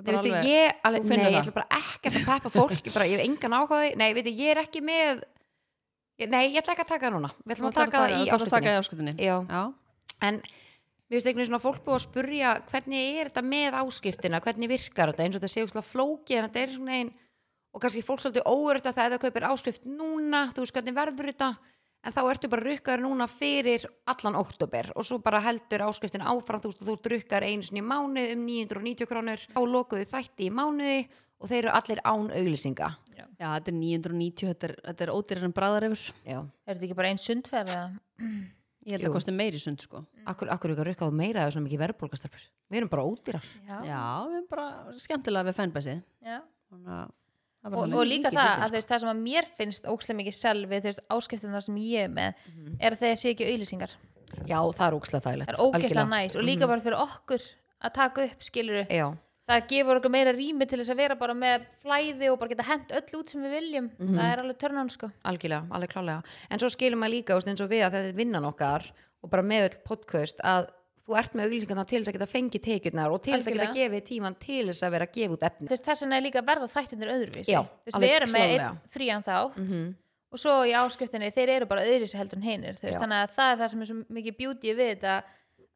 Speaker 2: Nei, veistu, ég, alveg,
Speaker 1: Þú
Speaker 2: nei,
Speaker 1: finnur
Speaker 2: ég
Speaker 1: það.
Speaker 2: ætla bara ekkert að peppa fólk ég, bara, ég hef engan áhugaði, nei, veitu, ég er ekki með ég- nei, ég ætla ekki að taka það núna við ætlum að taka það í
Speaker 1: Taka
Speaker 2: áskriftinni
Speaker 1: í áskriftinni
Speaker 2: Já.
Speaker 1: Já.
Speaker 2: en mér finnst einhvern veginn svona fólk búið að spurja hvernig er þetta með áskriftina, hvernig virkar þetta eins og þetta séu slá flókið en þetta er svona ein og kannski fólk svolítið óörð að það eða kaupir áskrift núna, þú veist hvernig verður þetta en þá ertu bara rukkaður núna fyrir allan oktober og svo bara heldur áskriftin áfram, þú veist, og þú rukkar einu sinni í mánuð um 990 krónur á lokuðu þætti í mánuði og þeir eru allir án auglýsinga
Speaker 1: Já, þetta er 990, þetta er, þetta er ódýrar en bræðar yfir
Speaker 2: Já,
Speaker 3: Er þetta ekki bara einn sundferð eða?
Speaker 1: Ég held að
Speaker 2: Jú.
Speaker 1: það kosti meiri sund, sko
Speaker 2: akkur, akkur ykkar rukkaðu meira eða svona mikið verðbólgastarpur við erum bara ódýrar
Speaker 3: Já,
Speaker 1: Já, við erum bara skemmtilega við fænbæsi
Speaker 3: já.
Speaker 1: Og,
Speaker 3: og, og líka það
Speaker 2: sko.
Speaker 3: að þú veist það sem að mér finnst ókslega mikið sjálf við þú veist áskiptin það sem ég er með er að þegar sé ekki auðlýsingar það
Speaker 2: Já, það er ókslega þægilegt
Speaker 3: er ógeðslega
Speaker 2: Mhm. algjörlega. Mhm.
Speaker 3: næs og líka bara fyrir okkur að taka upp skiluru
Speaker 2: Já,
Speaker 3: það gefur okkur meira rými til þess að vera bara með flæði og bara geta hent öll út sem við viljum
Speaker 2: Mhm.
Speaker 3: það er alveg törnun sko
Speaker 2: algjörlega, alveg klálega en svo skilum maður líka þú veist, eins og við að þetta er vinnan okkar og bara með öll podcast að þú ert með auglýsingarna til þess að geta fengið tekjurnar og til þess að geta
Speaker 3: Algjörlega.
Speaker 2: gefið tíman til þess að vera að gefa út
Speaker 3: Þú
Speaker 2: efni
Speaker 3: veist, þess vegna er líka að verða þættinir öðruvísi
Speaker 2: Já,
Speaker 3: Þú veist, við
Speaker 2: alveg
Speaker 3: erum með
Speaker 2: klárlega. Mhm.
Speaker 3: einn frían þátt og svo í áskriftinni þeir eru bara öðruvísi heldur en hinir þú veist,
Speaker 2: Já.
Speaker 3: þannig að það er það sem er svo mikið beauty við þetta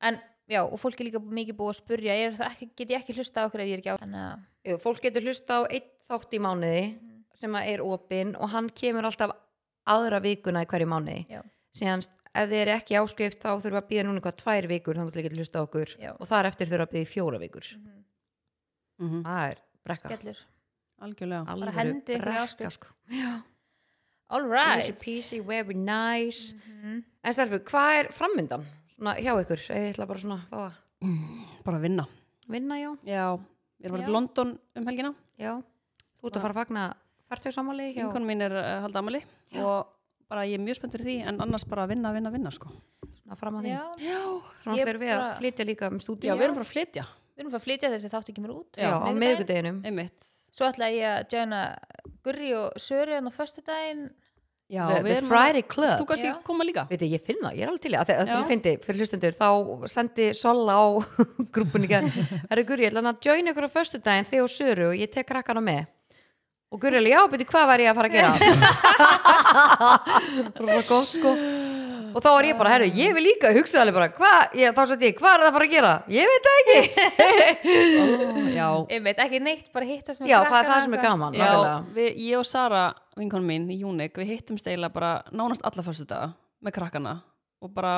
Speaker 3: en já og fólk er líka mikið búið að spurja er það ekki, get ég ekki hlusta á okkur ef ég er ekki á þannig að
Speaker 2: Jú, fólk getur hlusta á einn þátt í mánuði sem að er opinn og hann kemur alltaf aðra vikuna í hverju mánuði
Speaker 3: já,
Speaker 2: síðan ef þið eru ekki áskrift þá þurfa að býða núna eitthvað tvær vikur þannig að þið getur hlusta á okkur
Speaker 3: Já.
Speaker 2: og þar eftir þurfa að býða í fjóra vikur
Speaker 1: Mhm.
Speaker 2: það er brekka
Speaker 3: skellur
Speaker 1: Algjörlega
Speaker 2: Alvöru
Speaker 3: hendi ykkur í
Speaker 2: brekka,
Speaker 3: áskrift.
Speaker 2: sko. Já.
Speaker 3: all
Speaker 2: easy
Speaker 3: right Mhm.
Speaker 2: peasy, very nice En stelpur, hvað er framundan? Svona hjá ykkur, ég ætla bara svona að fá að
Speaker 1: Bara að vinna
Speaker 2: vinna, já,
Speaker 1: Já, ég er bara
Speaker 3: Já.
Speaker 1: til London um helgina
Speaker 2: já Þú ert að fara að fagna færtugsamáli hjá
Speaker 1: Vinkon mín er uh, halda amali Og bara ég er mjög spenntur í því En annars bara að vinna, vinna, vinna, sko
Speaker 2: svona fram að því
Speaker 3: já,
Speaker 1: Já,
Speaker 2: Svona
Speaker 3: Ég
Speaker 2: þegar við að
Speaker 3: bara-
Speaker 2: flytja líka um stúdíu
Speaker 1: við erum bara að flytja
Speaker 3: við erum fyrir að flytja þessi þátt ekki mér út
Speaker 2: Já, á miðvikudeginum
Speaker 1: Einmitt
Speaker 3: svo ætla ég að joina Gurri og Söru en á föstudaginn
Speaker 1: Já,
Speaker 2: The-
Speaker 1: við
Speaker 2: the
Speaker 1: erum að-
Speaker 2: Friday Club.
Speaker 1: Vilt Þú kannski
Speaker 3: Já.
Speaker 1: koma líka
Speaker 2: Veitir, ég finn það, ég er alveg til í að
Speaker 1: Já.
Speaker 2: þegar þetta fyndi fyrir hlustendur, þá sendi Sola á grúpunni gær Herri Guri, ég ætla að join ykkur á föstudaginn þig og Söru og ég tek krakkana með og Guri, alveg, já, beti, hvað var ég að fara að gera? Rósa gott, sko og þá var ég bara, herri, ég vil líka hugsa alveg bara, hvað, ég- þá sendi ég, hvað er það að fara að gera? Ég veit það ekki
Speaker 1: Já,
Speaker 3: einmitt, ekki neitt, bara hittast með
Speaker 2: Já, það er
Speaker 3: krakkana
Speaker 2: það sem er
Speaker 3: eitthvað.
Speaker 2: gaman,
Speaker 1: Já,
Speaker 2: nákvæmlega
Speaker 1: við, ég og Sara, vinkon mín, Júnik, við hittumst eiginlega bara nánast alla fyrstu daga með krakkana og bara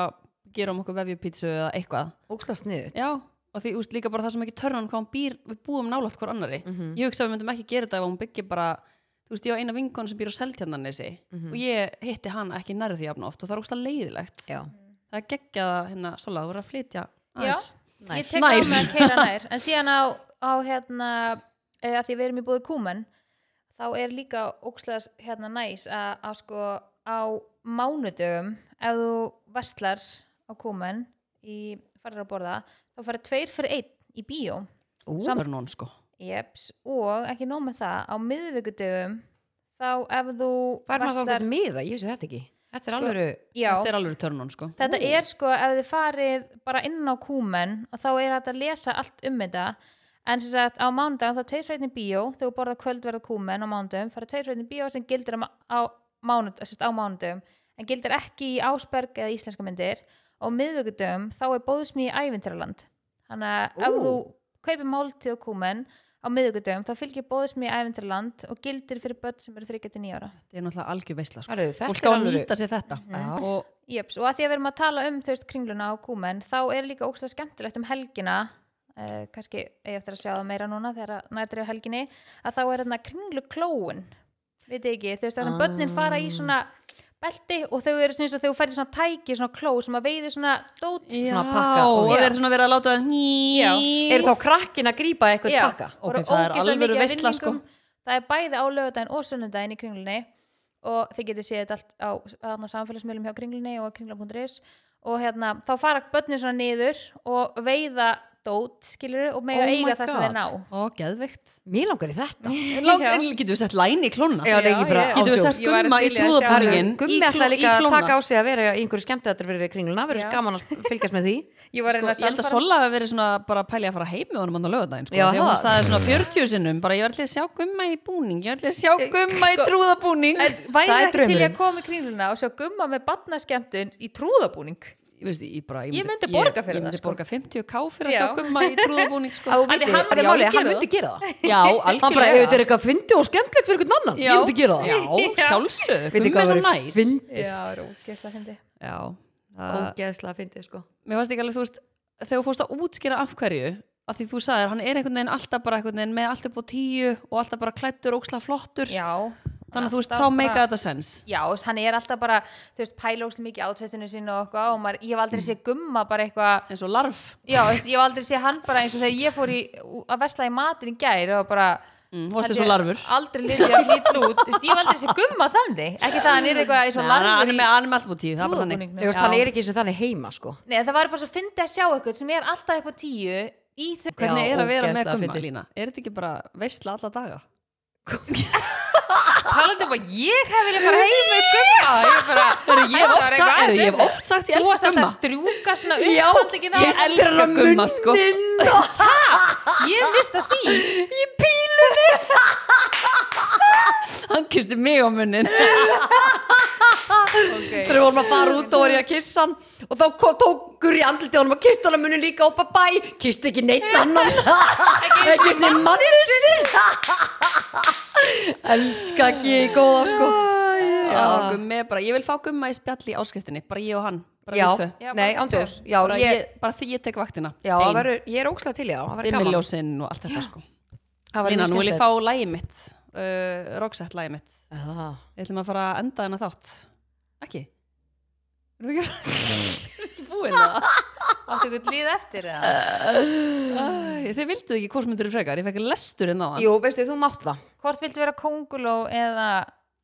Speaker 1: gerum okkur vefjupítsu eða eitthvað.
Speaker 2: Óksla sniðut,
Speaker 1: Já, og því úst líka bara það sem ekki törnan hvað hún býr, við búum nálátt hver annari. Ég hugsa að við myndum ekki gera þetta ef hún byggir bara, þú veist, ég á eina vinkon sem býr á Seltjarnanesi og ég hitti hann ekki nærðu því jafn oft og það er óslega leiðilegt.
Speaker 2: já,
Speaker 1: Það er geggjaða hérna, Sola, þú voru að flytja
Speaker 3: Já,
Speaker 1: aðeins.
Speaker 2: Nær.
Speaker 3: ég tek
Speaker 1: Nær.
Speaker 3: á mig að keira nær en síðan á, á hérna eh, að því við erum í búið kúmen þá er líka ókslega hérna næs að, að sko á mánudögum ef þú vestlar á kúmen í farir að borða þá fara tveir fyrir einn í bíó
Speaker 2: ú,
Speaker 1: Samverðnón, sko.
Speaker 3: Jeps, og ekki nóg með það á miðvikudögum þá ef þú
Speaker 2: hvað er maður þá
Speaker 3: verslar-
Speaker 2: einhvern miða? Ég vissi þetta ekki Þetta
Speaker 1: Sko,
Speaker 2: er alveg,
Speaker 3: Já,
Speaker 1: Þetta er alveg törnun, sko.
Speaker 3: Þetta er sko, ef þið farið bara inn á kúmen og þá er þetta að lesa allt um þetta en sem sagt á mánudagum þá tveir freyðin bíó þegar þú borða kvöldverða kúmen á mánudagum fara tveir freyðin bíó sem gildir á, ma- á, mánud, sem sagt á mánudagum en gildir ekki í Ásberg eða íslenska myndir og á miðvikudagum þá er bóðsmíði ævintýraland þannig að ef
Speaker 2: Ú.
Speaker 3: þú kaupir máltíð og kúmen á miðugudöfum, þá fylgir bóðismi í æventurland og gildir fyrir börn sem eru 39 ára.
Speaker 1: þetta er náttúrulega algjör veisla sko.
Speaker 2: Hörðu, þetta
Speaker 1: fólk á
Speaker 2: er
Speaker 1: að
Speaker 2: alvöru.
Speaker 1: nýta sér þetta
Speaker 2: Já.
Speaker 1: og
Speaker 3: Jöps, og að því að við erum að tala um þú veist kringluna og kúmen, þá er líka ógstlega skemmtilegt um helgina, uh, kannski eigi eftir að sjá það meira núna þegar að nær dreif helginni, að þá er þarna kringluklóun, veit ekki, þú veist það sem börnin fara í svona belti og þau eru svona eins og þau færði svona tæki, svona kló sem að veiði svona dót
Speaker 2: Svona
Speaker 1: Já,
Speaker 2: pakka og-
Speaker 1: og
Speaker 2: Já.
Speaker 1: þeir eru svona verið að láta það
Speaker 3: Já.
Speaker 2: Er þá krakkin að grípa eitthvað
Speaker 3: Já,
Speaker 2: pakka?
Speaker 1: Ok,
Speaker 3: voru
Speaker 1: það er
Speaker 3: ógeðslega
Speaker 1: alvöru
Speaker 3: mikið af
Speaker 1: veisla, sko.
Speaker 3: vinningum. það er bæði á lögudaginn og sunnudaginn í kringlunni og þið getið séð þetta allt á aðna samfélagsmiðlum hjá kringlunni og kringla.is og hérna, þá fara börnin svona niður og veiða dót, skilur og mega
Speaker 2: Oh my
Speaker 3: eiga það sem þeir
Speaker 2: God.
Speaker 3: ná
Speaker 1: og geðveikt
Speaker 2: Mér langar í þetta.
Speaker 1: langar inn, getur við sett læn í klónna
Speaker 2: Já, lengi bara
Speaker 3: já.
Speaker 2: á
Speaker 1: getur við
Speaker 2: djók.
Speaker 1: sett
Speaker 3: Ég væri
Speaker 1: gumma í
Speaker 3: til í að sjá-
Speaker 2: Herðu,
Speaker 1: trúðabúningin
Speaker 2: Gummi ætlaði líka að taka á sig að vera í einhverju skemmtættur fyrir kringluna, verður
Speaker 3: Já.
Speaker 2: gaman að fylgjast með því
Speaker 3: ég var að
Speaker 1: Sko,
Speaker 3: reyna
Speaker 1: ég held að
Speaker 3: sannfæra-
Speaker 1: Sola hafi verið svona bara að pæli að fara heim með honum hann á lögadaginn sko,
Speaker 2: Já,
Speaker 1: því að hún
Speaker 2: það.
Speaker 1: sagði svona 40 sinnum bara ég var allir að sjá gumma í búning ég var allir að sjá gumma í
Speaker 3: sko,
Speaker 1: trúðabúning
Speaker 3: En væri
Speaker 2: Það
Speaker 3: ekki
Speaker 2: er
Speaker 3: til í að
Speaker 2: draumurinn.
Speaker 3: koma í kringluna og sjá gumma með barnaskemmtun í trúðabúning
Speaker 1: ég, veist, ég, bara,
Speaker 3: Ég myndi borga fyrir
Speaker 1: ég,
Speaker 3: það,
Speaker 1: ég myndi
Speaker 3: sko.
Speaker 1: borga 50k fyrir að
Speaker 3: Já.
Speaker 1: sjá gumma í trúðabúning sko.
Speaker 2: Að þú
Speaker 3: Ætli
Speaker 2: vitir,
Speaker 3: hann
Speaker 2: bara,
Speaker 3: myndi
Speaker 2: já,
Speaker 3: alveg
Speaker 2: ég- hann
Speaker 3: gera
Speaker 2: myndi gera það
Speaker 1: já,
Speaker 2: Hann bara, ef þetta er
Speaker 1: algjörlega
Speaker 2: eitthvað fyndi og skemmtilegt fyrir einhvern annan,
Speaker 1: já,
Speaker 2: ég myndi gera það
Speaker 1: já,
Speaker 3: Já.
Speaker 1: sjálfsög
Speaker 2: Veitir
Speaker 1: gumma
Speaker 2: hvað
Speaker 1: er svo
Speaker 2: væri
Speaker 1: næs
Speaker 2: fyndið?
Speaker 3: já, rókist að hindi
Speaker 1: já, það,
Speaker 2: Ógeðslega fyndi, sko
Speaker 1: mér fannst ekki alveg þú veist þegar þú fórst að útskýra af hverju að því þú sagðir, hann er einhvern veginn alltaf bara einhvern veginn með allt upp á tíu og alltaf bara klættur óksla flottur
Speaker 3: já,
Speaker 1: þannig að þú veist,
Speaker 3: Alltaf
Speaker 1: þá
Speaker 3: bara-
Speaker 1: meika þetta sens
Speaker 3: Já, þú veist, hann er alltaf bara, þú veist, pælókslega mikið átfessinu sínu og eitthvað og maður, ég hef aldrei séð gumma bara eitthvað,
Speaker 1: eins og larf
Speaker 3: já, þú veist, ég hef aldrei séð hann bara eins og þegar ég fór í, ú- að vesla í matin í gær og bara
Speaker 1: Mm, þú varst
Speaker 3: held
Speaker 1: eins og
Speaker 3: ég
Speaker 1: larfur.
Speaker 3: Aldrei litið að lítið út, þú veist, ég hef aldrei séð gumma þannig, ekki það að hann er eitthvað eins
Speaker 1: Nei,
Speaker 3: og
Speaker 1: hann hann
Speaker 3: larfur
Speaker 1: er
Speaker 3: í
Speaker 1: með, hann er með allt búið tíu, það er bara þannig
Speaker 3: trúðabúningnum.
Speaker 2: Ég veist, hann er ekki eins og þannig heima, sko
Speaker 3: Nei, það var bara svo fyndið að sjá eitthvað sem er alltaf upp á tíu í þau
Speaker 1: Hvernig
Speaker 2: Já,
Speaker 1: er að vera með
Speaker 2: ógeðslega
Speaker 1: gumma
Speaker 2: fyndið.
Speaker 1: lína? Er þetta ekki bara veistla alla daga?
Speaker 3: talandi um að ég hef vilja fara heim með gumma, ég bara,
Speaker 1: Heyrðu, ég hef
Speaker 3: Það
Speaker 1: oft
Speaker 3: er
Speaker 1: sagt-
Speaker 3: eitthvað
Speaker 1: heyrðu, ég hef
Speaker 3: aðeins.
Speaker 1: oft sagt ég
Speaker 3: þú
Speaker 1: elska
Speaker 3: varst alltaf
Speaker 1: gumma
Speaker 3: að strjúka svona
Speaker 2: Já,
Speaker 3: upphandlegin á
Speaker 1: Ég
Speaker 3: henni.
Speaker 1: elska gumma sko
Speaker 3: ég vist að því
Speaker 1: Hann kisti mig á munnin
Speaker 3: okay.
Speaker 2: Þegar við vorum að fara út og var ég að kissa hann og þá ko- tók Gurri andliti á honum og kissa hann á munum líka og bara bæ, kissa ekki neitt annan ekki eins og manni sinn Elska ekki góða, sko
Speaker 1: Já, gummi er bara, ég vil fá gumma í spjalli í áskriftinni Bara ég og hann, bara
Speaker 2: Já,
Speaker 1: við tvö
Speaker 3: Já,
Speaker 2: nei,
Speaker 3: bara við
Speaker 2: ándjós Já,
Speaker 1: bara
Speaker 2: ég,
Speaker 1: ég, bara því ég tek vaktina
Speaker 2: já það verður- ég er ókslega til, já, það verður gaman
Speaker 1: dimmiljósin og allt þetta sko
Speaker 2: Það verður
Speaker 1: Lína,
Speaker 2: mjög
Speaker 1: nú vil ég fá
Speaker 2: skemmtilegt.
Speaker 1: lægið mitt uh, Roxette lægið mitt
Speaker 2: Ah.
Speaker 1: Við ætlum að fara að enda þennan þátt Ekki? Erum við ekki, Erum við ekki búin að
Speaker 3: Áttu ykkur líð eftir eða?
Speaker 1: Æ, Þið vilduð ekki hvort myndur frekar, ég fekk lestur inn á hann
Speaker 2: Jú, veistu, þú mátt það
Speaker 3: Hvort viltu vera kónguló eða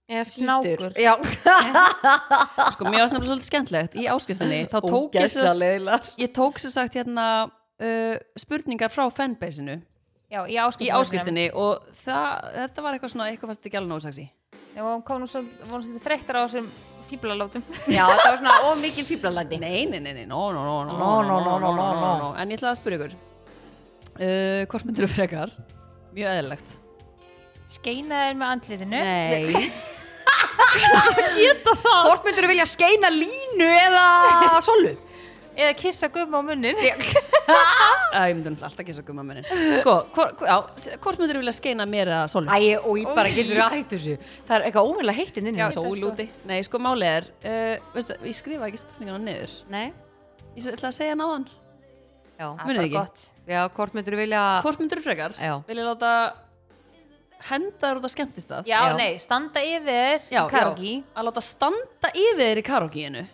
Speaker 2: Eða
Speaker 3: Snákur.
Speaker 2: skítur. Já,
Speaker 1: Sko, mér var nefnilega svolítið skemmtlegt í áskriftinni Þá tók ég
Speaker 2: ógæsla
Speaker 1: sér
Speaker 2: leiðilar
Speaker 1: Ég tók sér sagt hérna uh, spurningar frá fanbase-inu
Speaker 3: Já, í
Speaker 1: í
Speaker 3: áskriftinni
Speaker 1: áskriftinni og það, þetta var eitthvað svona, eitthvað fannst ekki alveg nóg saksi.
Speaker 3: Já, hún kom nú svo, voru svolítið þreyttur á þessum fíblalótum
Speaker 2: Já, það var svona of mikið fíblalandi
Speaker 1: Nei, nei, nei, nei, no, no, no, no,
Speaker 2: No, no, no, no, no, no.
Speaker 1: En ég ætlaði að spyrja ykkur, uh, hvort myndur frekar? Mjög eðlilegt.
Speaker 3: Skeinaður með andlitinu
Speaker 1: Nei,
Speaker 2: Hvort myndur vilja skeina línu eða solu?
Speaker 3: Eða kissa gumma á munnin
Speaker 1: Æ, ég myndi náttúrulega alltaf kissa gumma minnin. Sko, hvort, já, s- hvort myndur vilja skeina mér eða Sólu?
Speaker 2: Æ, og ég bara getur að hættu þessu Það er eitthvað ómjöla heitt inn
Speaker 3: Já,
Speaker 2: inni
Speaker 3: þetta er sko-
Speaker 1: Sólúti. Nei, sko, málið er, uh, veistu, ég skrifa ekki spurninguna niður.
Speaker 2: Nei,
Speaker 1: Ég s- ætla að segja náðan.
Speaker 2: já,
Speaker 1: Munið
Speaker 3: bara
Speaker 1: ekki.
Speaker 3: gott
Speaker 2: já hvort myndur vilja
Speaker 1: Hvort myndur frekar?
Speaker 2: Já.
Speaker 1: Vil ég láta henda þér út á skemmtistað?
Speaker 3: Já,
Speaker 2: Já.
Speaker 3: nei, standa yfir
Speaker 1: já, já.
Speaker 3: Karogi
Speaker 1: Að láta standa yfir þér í karaokeinu.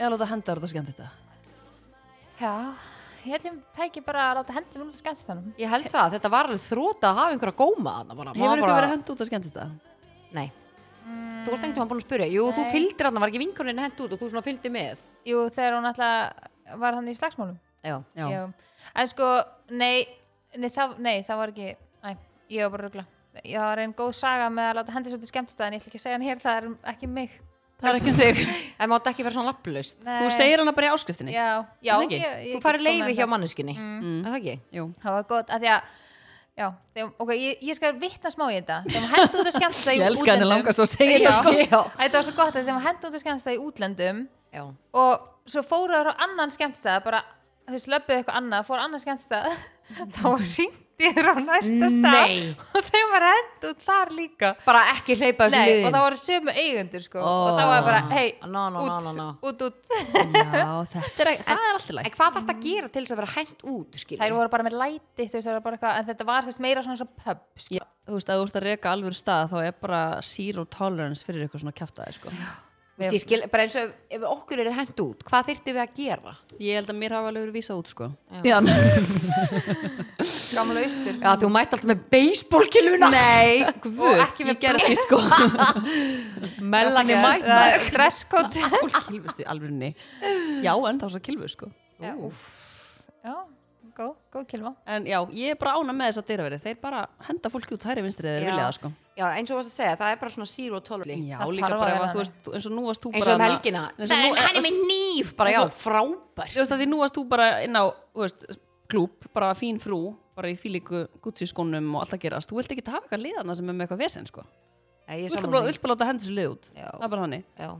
Speaker 1: Eða láta henda þér út á skemmtistað.
Speaker 3: Já, ég held ég tæki bara að láta hendi mér út af skemmtistanum
Speaker 2: Ég held það, þetta var alveg þróta að hafa einhverja góma þarna bara.
Speaker 1: Hefur
Speaker 2: Maður
Speaker 1: ykkur
Speaker 2: bara-
Speaker 1: verið henda út á skemmtistað?
Speaker 2: Nei Þú ert einhvern veginn búin að spyrja Jú, þú
Speaker 3: Nei.
Speaker 2: fylgdir hann, var ekki vinkoninn hent út og þú svona fylgdi með
Speaker 3: Jú, þegar hún alltaf var hann í slagsmálum
Speaker 2: Já,
Speaker 1: Já.
Speaker 3: Já. En sko, nei, nei, það, nei, það var ekki, næ, ég var bara að rugla. Ég var einn góð saga með að láta hendi svolítið skemmtstæðan, ég ætla ekki að segja hann hér, það er um- ekki um mig.
Speaker 1: Það er ekki um þig.
Speaker 2: en máttu ekki vera svona lapplaust
Speaker 1: Þú segir hana bara í áskriftinni.
Speaker 3: Já, já.
Speaker 1: Er það ekki?
Speaker 2: Þú farið leifi hjá
Speaker 3: mann.
Speaker 2: manneskinni mm. Er það ekki?
Speaker 1: Jú.
Speaker 3: Það var gott, af því að, já, þegar, ok, ég, ég skal vitna smá í þetta. Þegar maður hendi út að skemmtstæða í útlöndum.
Speaker 1: Ég elska henni langast að segja þetta sko.
Speaker 3: Já,
Speaker 2: Já.
Speaker 3: þetta var svo gott að þegar maður hendi út að skemmtstæða í útlöndum
Speaker 2: Já
Speaker 3: og svo fóru þær á annan skemmtstæða, bara, þú veist, löbbuðu eitthvað annað, fóru á annan skemmtstæða þá ringdi þér á næsta stað
Speaker 2: Nei.
Speaker 3: og þeim var hend út þar líka
Speaker 2: bara ekki hleypa þessu
Speaker 3: Nei, og
Speaker 2: liðin
Speaker 3: það voru sömu eigendur sko
Speaker 1: Ó.
Speaker 3: og það var bara, hei,
Speaker 2: No, no, no,
Speaker 3: út,
Speaker 2: no, no.
Speaker 3: út, út
Speaker 1: Já, þetta er, ekki- það er alltaf
Speaker 2: en
Speaker 1: læk
Speaker 2: hvað þarf það að gera til þess að vera hænt út skilur?
Speaker 3: þær voru bara með læti, þú veist, það var bara eitthvað en þetta var, þú veist, meira svona eins og pub sko.
Speaker 1: Þú veist, að þú ert að reka alveg stað þá er bara zero tolerance fyrir eitthvað svona kjaftaði sko.
Speaker 2: Þú veist, ég skil, bara eins og ef- ef okkur eru hænt út hvað þyrftum við að gera
Speaker 1: Ég held að mér hafa alveg verið vísað út sko. Já.
Speaker 3: gamla austur
Speaker 2: já, þú mætti alltaf með beisbólkiluna
Speaker 1: Nei, guð,
Speaker 3: Og ekki með
Speaker 1: ég gerði því sko
Speaker 2: mellan er mætt
Speaker 3: dresskótt
Speaker 1: Kilvust í alvegni Já, en þá svo kilvu sko
Speaker 3: já, úff. já, góð, góð kilma
Speaker 1: En já, ég er bara ána með þess að dyraveri Þeir bara henda fólki út hæri vinstri eða þeir
Speaker 2: Já.
Speaker 1: vilja það sko
Speaker 2: já, eins og varst að segja, það er bara svona zero tolerance
Speaker 1: Já,
Speaker 3: Það
Speaker 1: líka
Speaker 3: þarf að
Speaker 1: bara ef
Speaker 3: vera
Speaker 1: að þú
Speaker 3: þannig.
Speaker 1: veist eins og nú varst þú
Speaker 2: eins
Speaker 1: bara hérna-
Speaker 2: og um
Speaker 1: þarna-
Speaker 2: helgina
Speaker 1: eins og
Speaker 2: Nei,
Speaker 1: nú-
Speaker 2: hann er með nýf bara, já,
Speaker 1: eins og-
Speaker 2: frábær
Speaker 1: Þú veist að því nú varst þú bara inn á þú veist, klúb, bara fín frú bara í þýlíku Gucci skónum og allt að gerast Þú vilt ekki hafa eitthvað liðana sem er með eitthvað vesen sko Þú
Speaker 2: Nei, ég er
Speaker 1: vilt
Speaker 2: sammála
Speaker 1: bara,
Speaker 2: því.
Speaker 1: vilt bara láta hendur sér lið út
Speaker 2: Já.
Speaker 1: Það er bara þannig
Speaker 2: Já.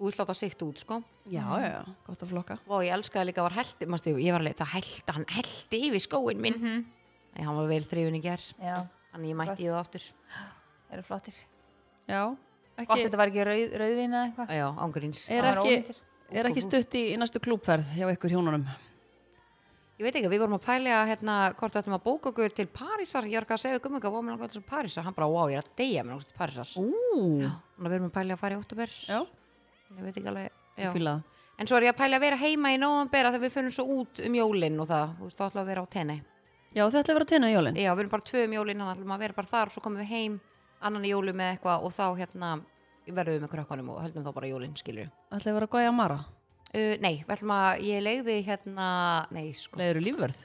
Speaker 2: þú vilt láta sikt út sko
Speaker 1: Já, já, já, gott að flokka
Speaker 2: og ég elskaði líka að var heldi manstu, ég var alveg, það heldi, hann heldi yfir skóin minn mm
Speaker 1: Mhm.
Speaker 2: hann var vel þrifin í ger
Speaker 3: já,
Speaker 2: þannig ég mætti í þá aftur
Speaker 3: eru flottir
Speaker 1: Já,
Speaker 3: gott
Speaker 1: ekki,
Speaker 3: þetta var ekki rauð, rauðvín eða eitthvað
Speaker 2: já, ángurins
Speaker 1: er,
Speaker 3: Það var
Speaker 1: ekki,
Speaker 3: ónýtir.
Speaker 1: er ekki stutt í, í næstu klúbferð hjá ykkur hjónunum
Speaker 2: ég veit ekki, við vorum að pælja hérna hvort við ættum að bóka okkur til Parísar ég var ekki að segja gummi ekki að bóka okkur til Parísar hann bara, wow, ég er að deyja með okkur til Parísar
Speaker 1: Ú,
Speaker 2: þannig að við erum að pælja að fara í óttubér
Speaker 1: já,
Speaker 2: ég veit ekki alveg já.
Speaker 1: já. fíla það
Speaker 2: en svo er ég að pælja að vera heima í nóvambera þegar við finnum svo út um jólin og það, þú veist, þá ætlum við að vera á tenni
Speaker 1: Já, þetta er að vera tenni í jólinn
Speaker 2: Já, við erum bara tvö um jólin, þannig ætlum að vera bara þar og svo komum við heim annan í jólum með eitthvað og þá hérna verðum við með krökkunum og höldum þá bara jólin, skilur
Speaker 1: Ætlaði að vera góði að mara
Speaker 2: Uh, nei, við ætlum að, ég leiði hérna, nei sko,
Speaker 1: Leður þú lífverð?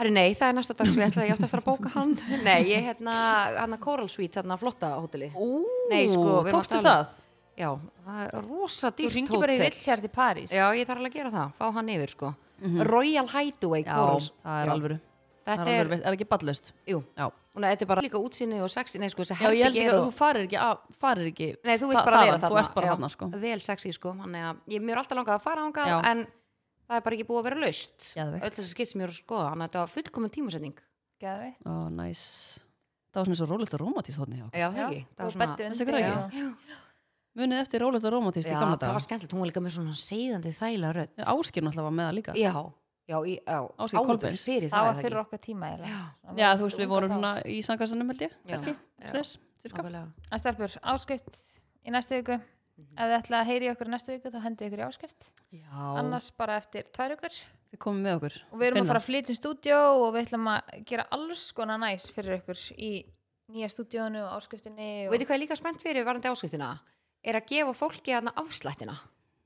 Speaker 2: herri nei, það er næsta dag svo ég ætlaði, ég átti eftir að bóka hann, nei, ég hérna, hann að Coral Suite, hérna flotta hóteli,
Speaker 1: Ú,
Speaker 2: Nei, sko, við erum að
Speaker 1: tókstu
Speaker 2: tala um-
Speaker 1: það?
Speaker 2: já, það er rosa
Speaker 3: þú
Speaker 2: dýrt
Speaker 3: ringi bara í
Speaker 2: hótel.
Speaker 3: Richard í París
Speaker 2: Já, ég þarf alveg að gera það, fá hann yfir sko, Royal Hideaway
Speaker 1: Mhm. Mm. Já,
Speaker 2: Coral, Suite.
Speaker 1: það er
Speaker 2: Já.
Speaker 1: alvöru Það
Speaker 2: þetta
Speaker 1: er,
Speaker 2: er,
Speaker 1: alvöru, er ekki ballaust
Speaker 2: jú,
Speaker 1: Já,
Speaker 2: og þetta er bara líka útsýnið og sexi, nei sko, þessi
Speaker 1: já ég held
Speaker 2: herbergi
Speaker 1: ekki
Speaker 2: eru-
Speaker 1: að þú farir ekki, af, farir ekki
Speaker 2: Nei, þú veist
Speaker 1: þa-
Speaker 2: bara að vera
Speaker 1: þaðan,
Speaker 2: þarna
Speaker 1: Þú ert bara
Speaker 2: já.
Speaker 1: þarna sko
Speaker 2: Vel sexy sko, hann er að Ég mér er alltaf langað að fara hangað
Speaker 1: Já.
Speaker 2: En það er bara ekki búið að vera laust
Speaker 1: Geðveikt.
Speaker 2: Öll þessi skipt sem ég er að skoða Þannig að þetta var fullkomun tímasetning
Speaker 3: Geðveikt.
Speaker 1: Ó, næs Það var svona svo rólegt og rómatíst þarna hjá okkur.
Speaker 2: Já, það
Speaker 3: Já,
Speaker 2: ekki Það
Speaker 3: og
Speaker 2: var svona
Speaker 3: beddu
Speaker 1: Veistu
Speaker 3: undir
Speaker 1: hvað
Speaker 3: já.
Speaker 1: ekki? Munið eftir rólegt og rómatíst í
Speaker 2: Já,
Speaker 1: gamla
Speaker 2: það
Speaker 1: dag
Speaker 2: var skemmtilegt Hún var líka með svona seiðandi þæla rödd Já,
Speaker 1: Áskir náttúrulega var með það líka
Speaker 2: já, í- já
Speaker 1: Ásgeir
Speaker 2: áður
Speaker 1: Kolbeins.
Speaker 2: Fyrir
Speaker 3: það
Speaker 2: það
Speaker 3: var fyrir okkar tíma eiginlega. Það
Speaker 1: Já,
Speaker 3: var
Speaker 1: þú veist, við
Speaker 3: unga
Speaker 1: vorum
Speaker 3: þá.
Speaker 1: svona í sangastanum held ég,
Speaker 2: Já.
Speaker 1: kannski,
Speaker 2: Já.
Speaker 1: sless, cirka.
Speaker 2: okkur
Speaker 3: En stelpur, áskrift í næstu viku
Speaker 2: Mhm.
Speaker 3: ef þið ætla að heyri okkur í næstu viku þá hendið ykkur í áskrift
Speaker 1: Já,
Speaker 3: annars bara eftir tvær vikur
Speaker 1: þið komum með okkur.
Speaker 3: og við erum
Speaker 1: Finna.
Speaker 3: að fara að flytja um stúdíó og við ætlum að gera alls konar næs fyrir ykkur í nýja stúdíónu og áskriftinni og,
Speaker 2: Veitir hvað ég er líka spennt fyrir varandi áskriftina Er að gefa fólki þarna afslættina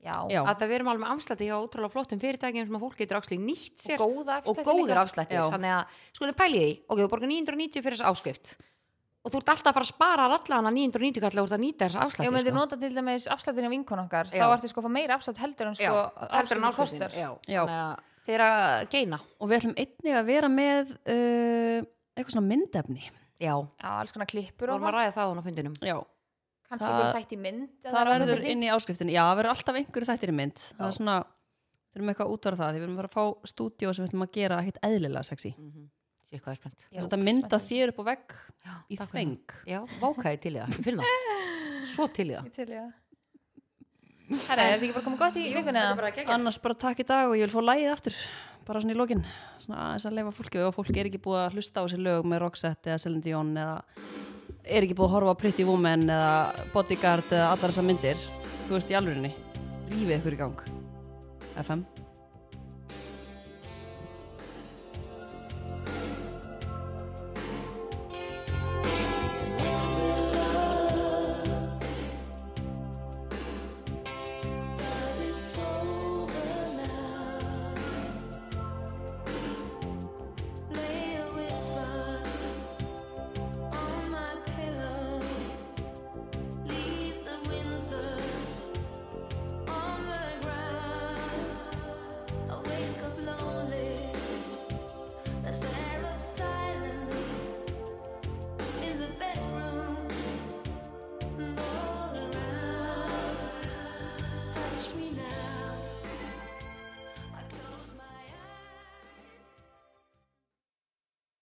Speaker 3: já,
Speaker 1: Já.
Speaker 2: Að það við erum alveg með afslætti hjá ótrúlega flottum fyrirtækjum sem að fólk getur áksli nýtt sér
Speaker 3: og góða
Speaker 2: og
Speaker 3: afslætti
Speaker 2: góðir
Speaker 3: líka.
Speaker 2: afslættir
Speaker 1: Já.
Speaker 2: þannig að sko, skulum pæli því ok, þú borgar 990 fyrir þessa áskrift og þú ert alltaf að fara að spara allana 990 kallar úr að nýta sko. þessa
Speaker 3: Ef við
Speaker 2: afslætti
Speaker 3: myndir nota til dæmis afslættin af vinkon okkar
Speaker 2: Já.
Speaker 3: þá ertu sko að fá meira afslætt heldur en sko
Speaker 2: heldur en
Speaker 3: afslættin kostar
Speaker 2: áskriftin já,
Speaker 1: Já.
Speaker 2: þannig að þeir eru að geina
Speaker 1: Og við ætlum einnig að vera með uh, eitthvað svona myndefni.
Speaker 2: já,
Speaker 3: Já, alls konar klippur og
Speaker 2: vorum að ræða það á hann á fundinum
Speaker 1: Já,
Speaker 3: kannski
Speaker 1: Það-
Speaker 3: ykkur þætt í mynd
Speaker 1: það verður inn í áskriftinni. Já, það verður alltaf einhverju þættir í mynd. Það er svona, þurfum eitthvað að útvara það, því við erum að fara að fá stúdíó sem við ætlum að gera ekkert eðlilega sexy.
Speaker 2: sé hvað er spennt
Speaker 1: Þess að þetta mynda þér upp á vegg í
Speaker 2: takk fyrir
Speaker 1: þeng.
Speaker 2: já, vákaði til í það, Ég finn það svo til í það
Speaker 3: Herra, er þetta ekki bara komið gott í vikunni? eða?
Speaker 1: Annars bara takk í dag og ég vil fá lægið aftur, bara svona í lokin. Svona aðeins að leifa fólki og fólk er ekki búið að hlusta á sér lög með Roxette eða Celine Dion eða er ekki búið að horfa á Pretty Woman eða Bodyguard eða allar þessar myndir. Þú veist í alvörinni, rífið ykkur í gang. FM.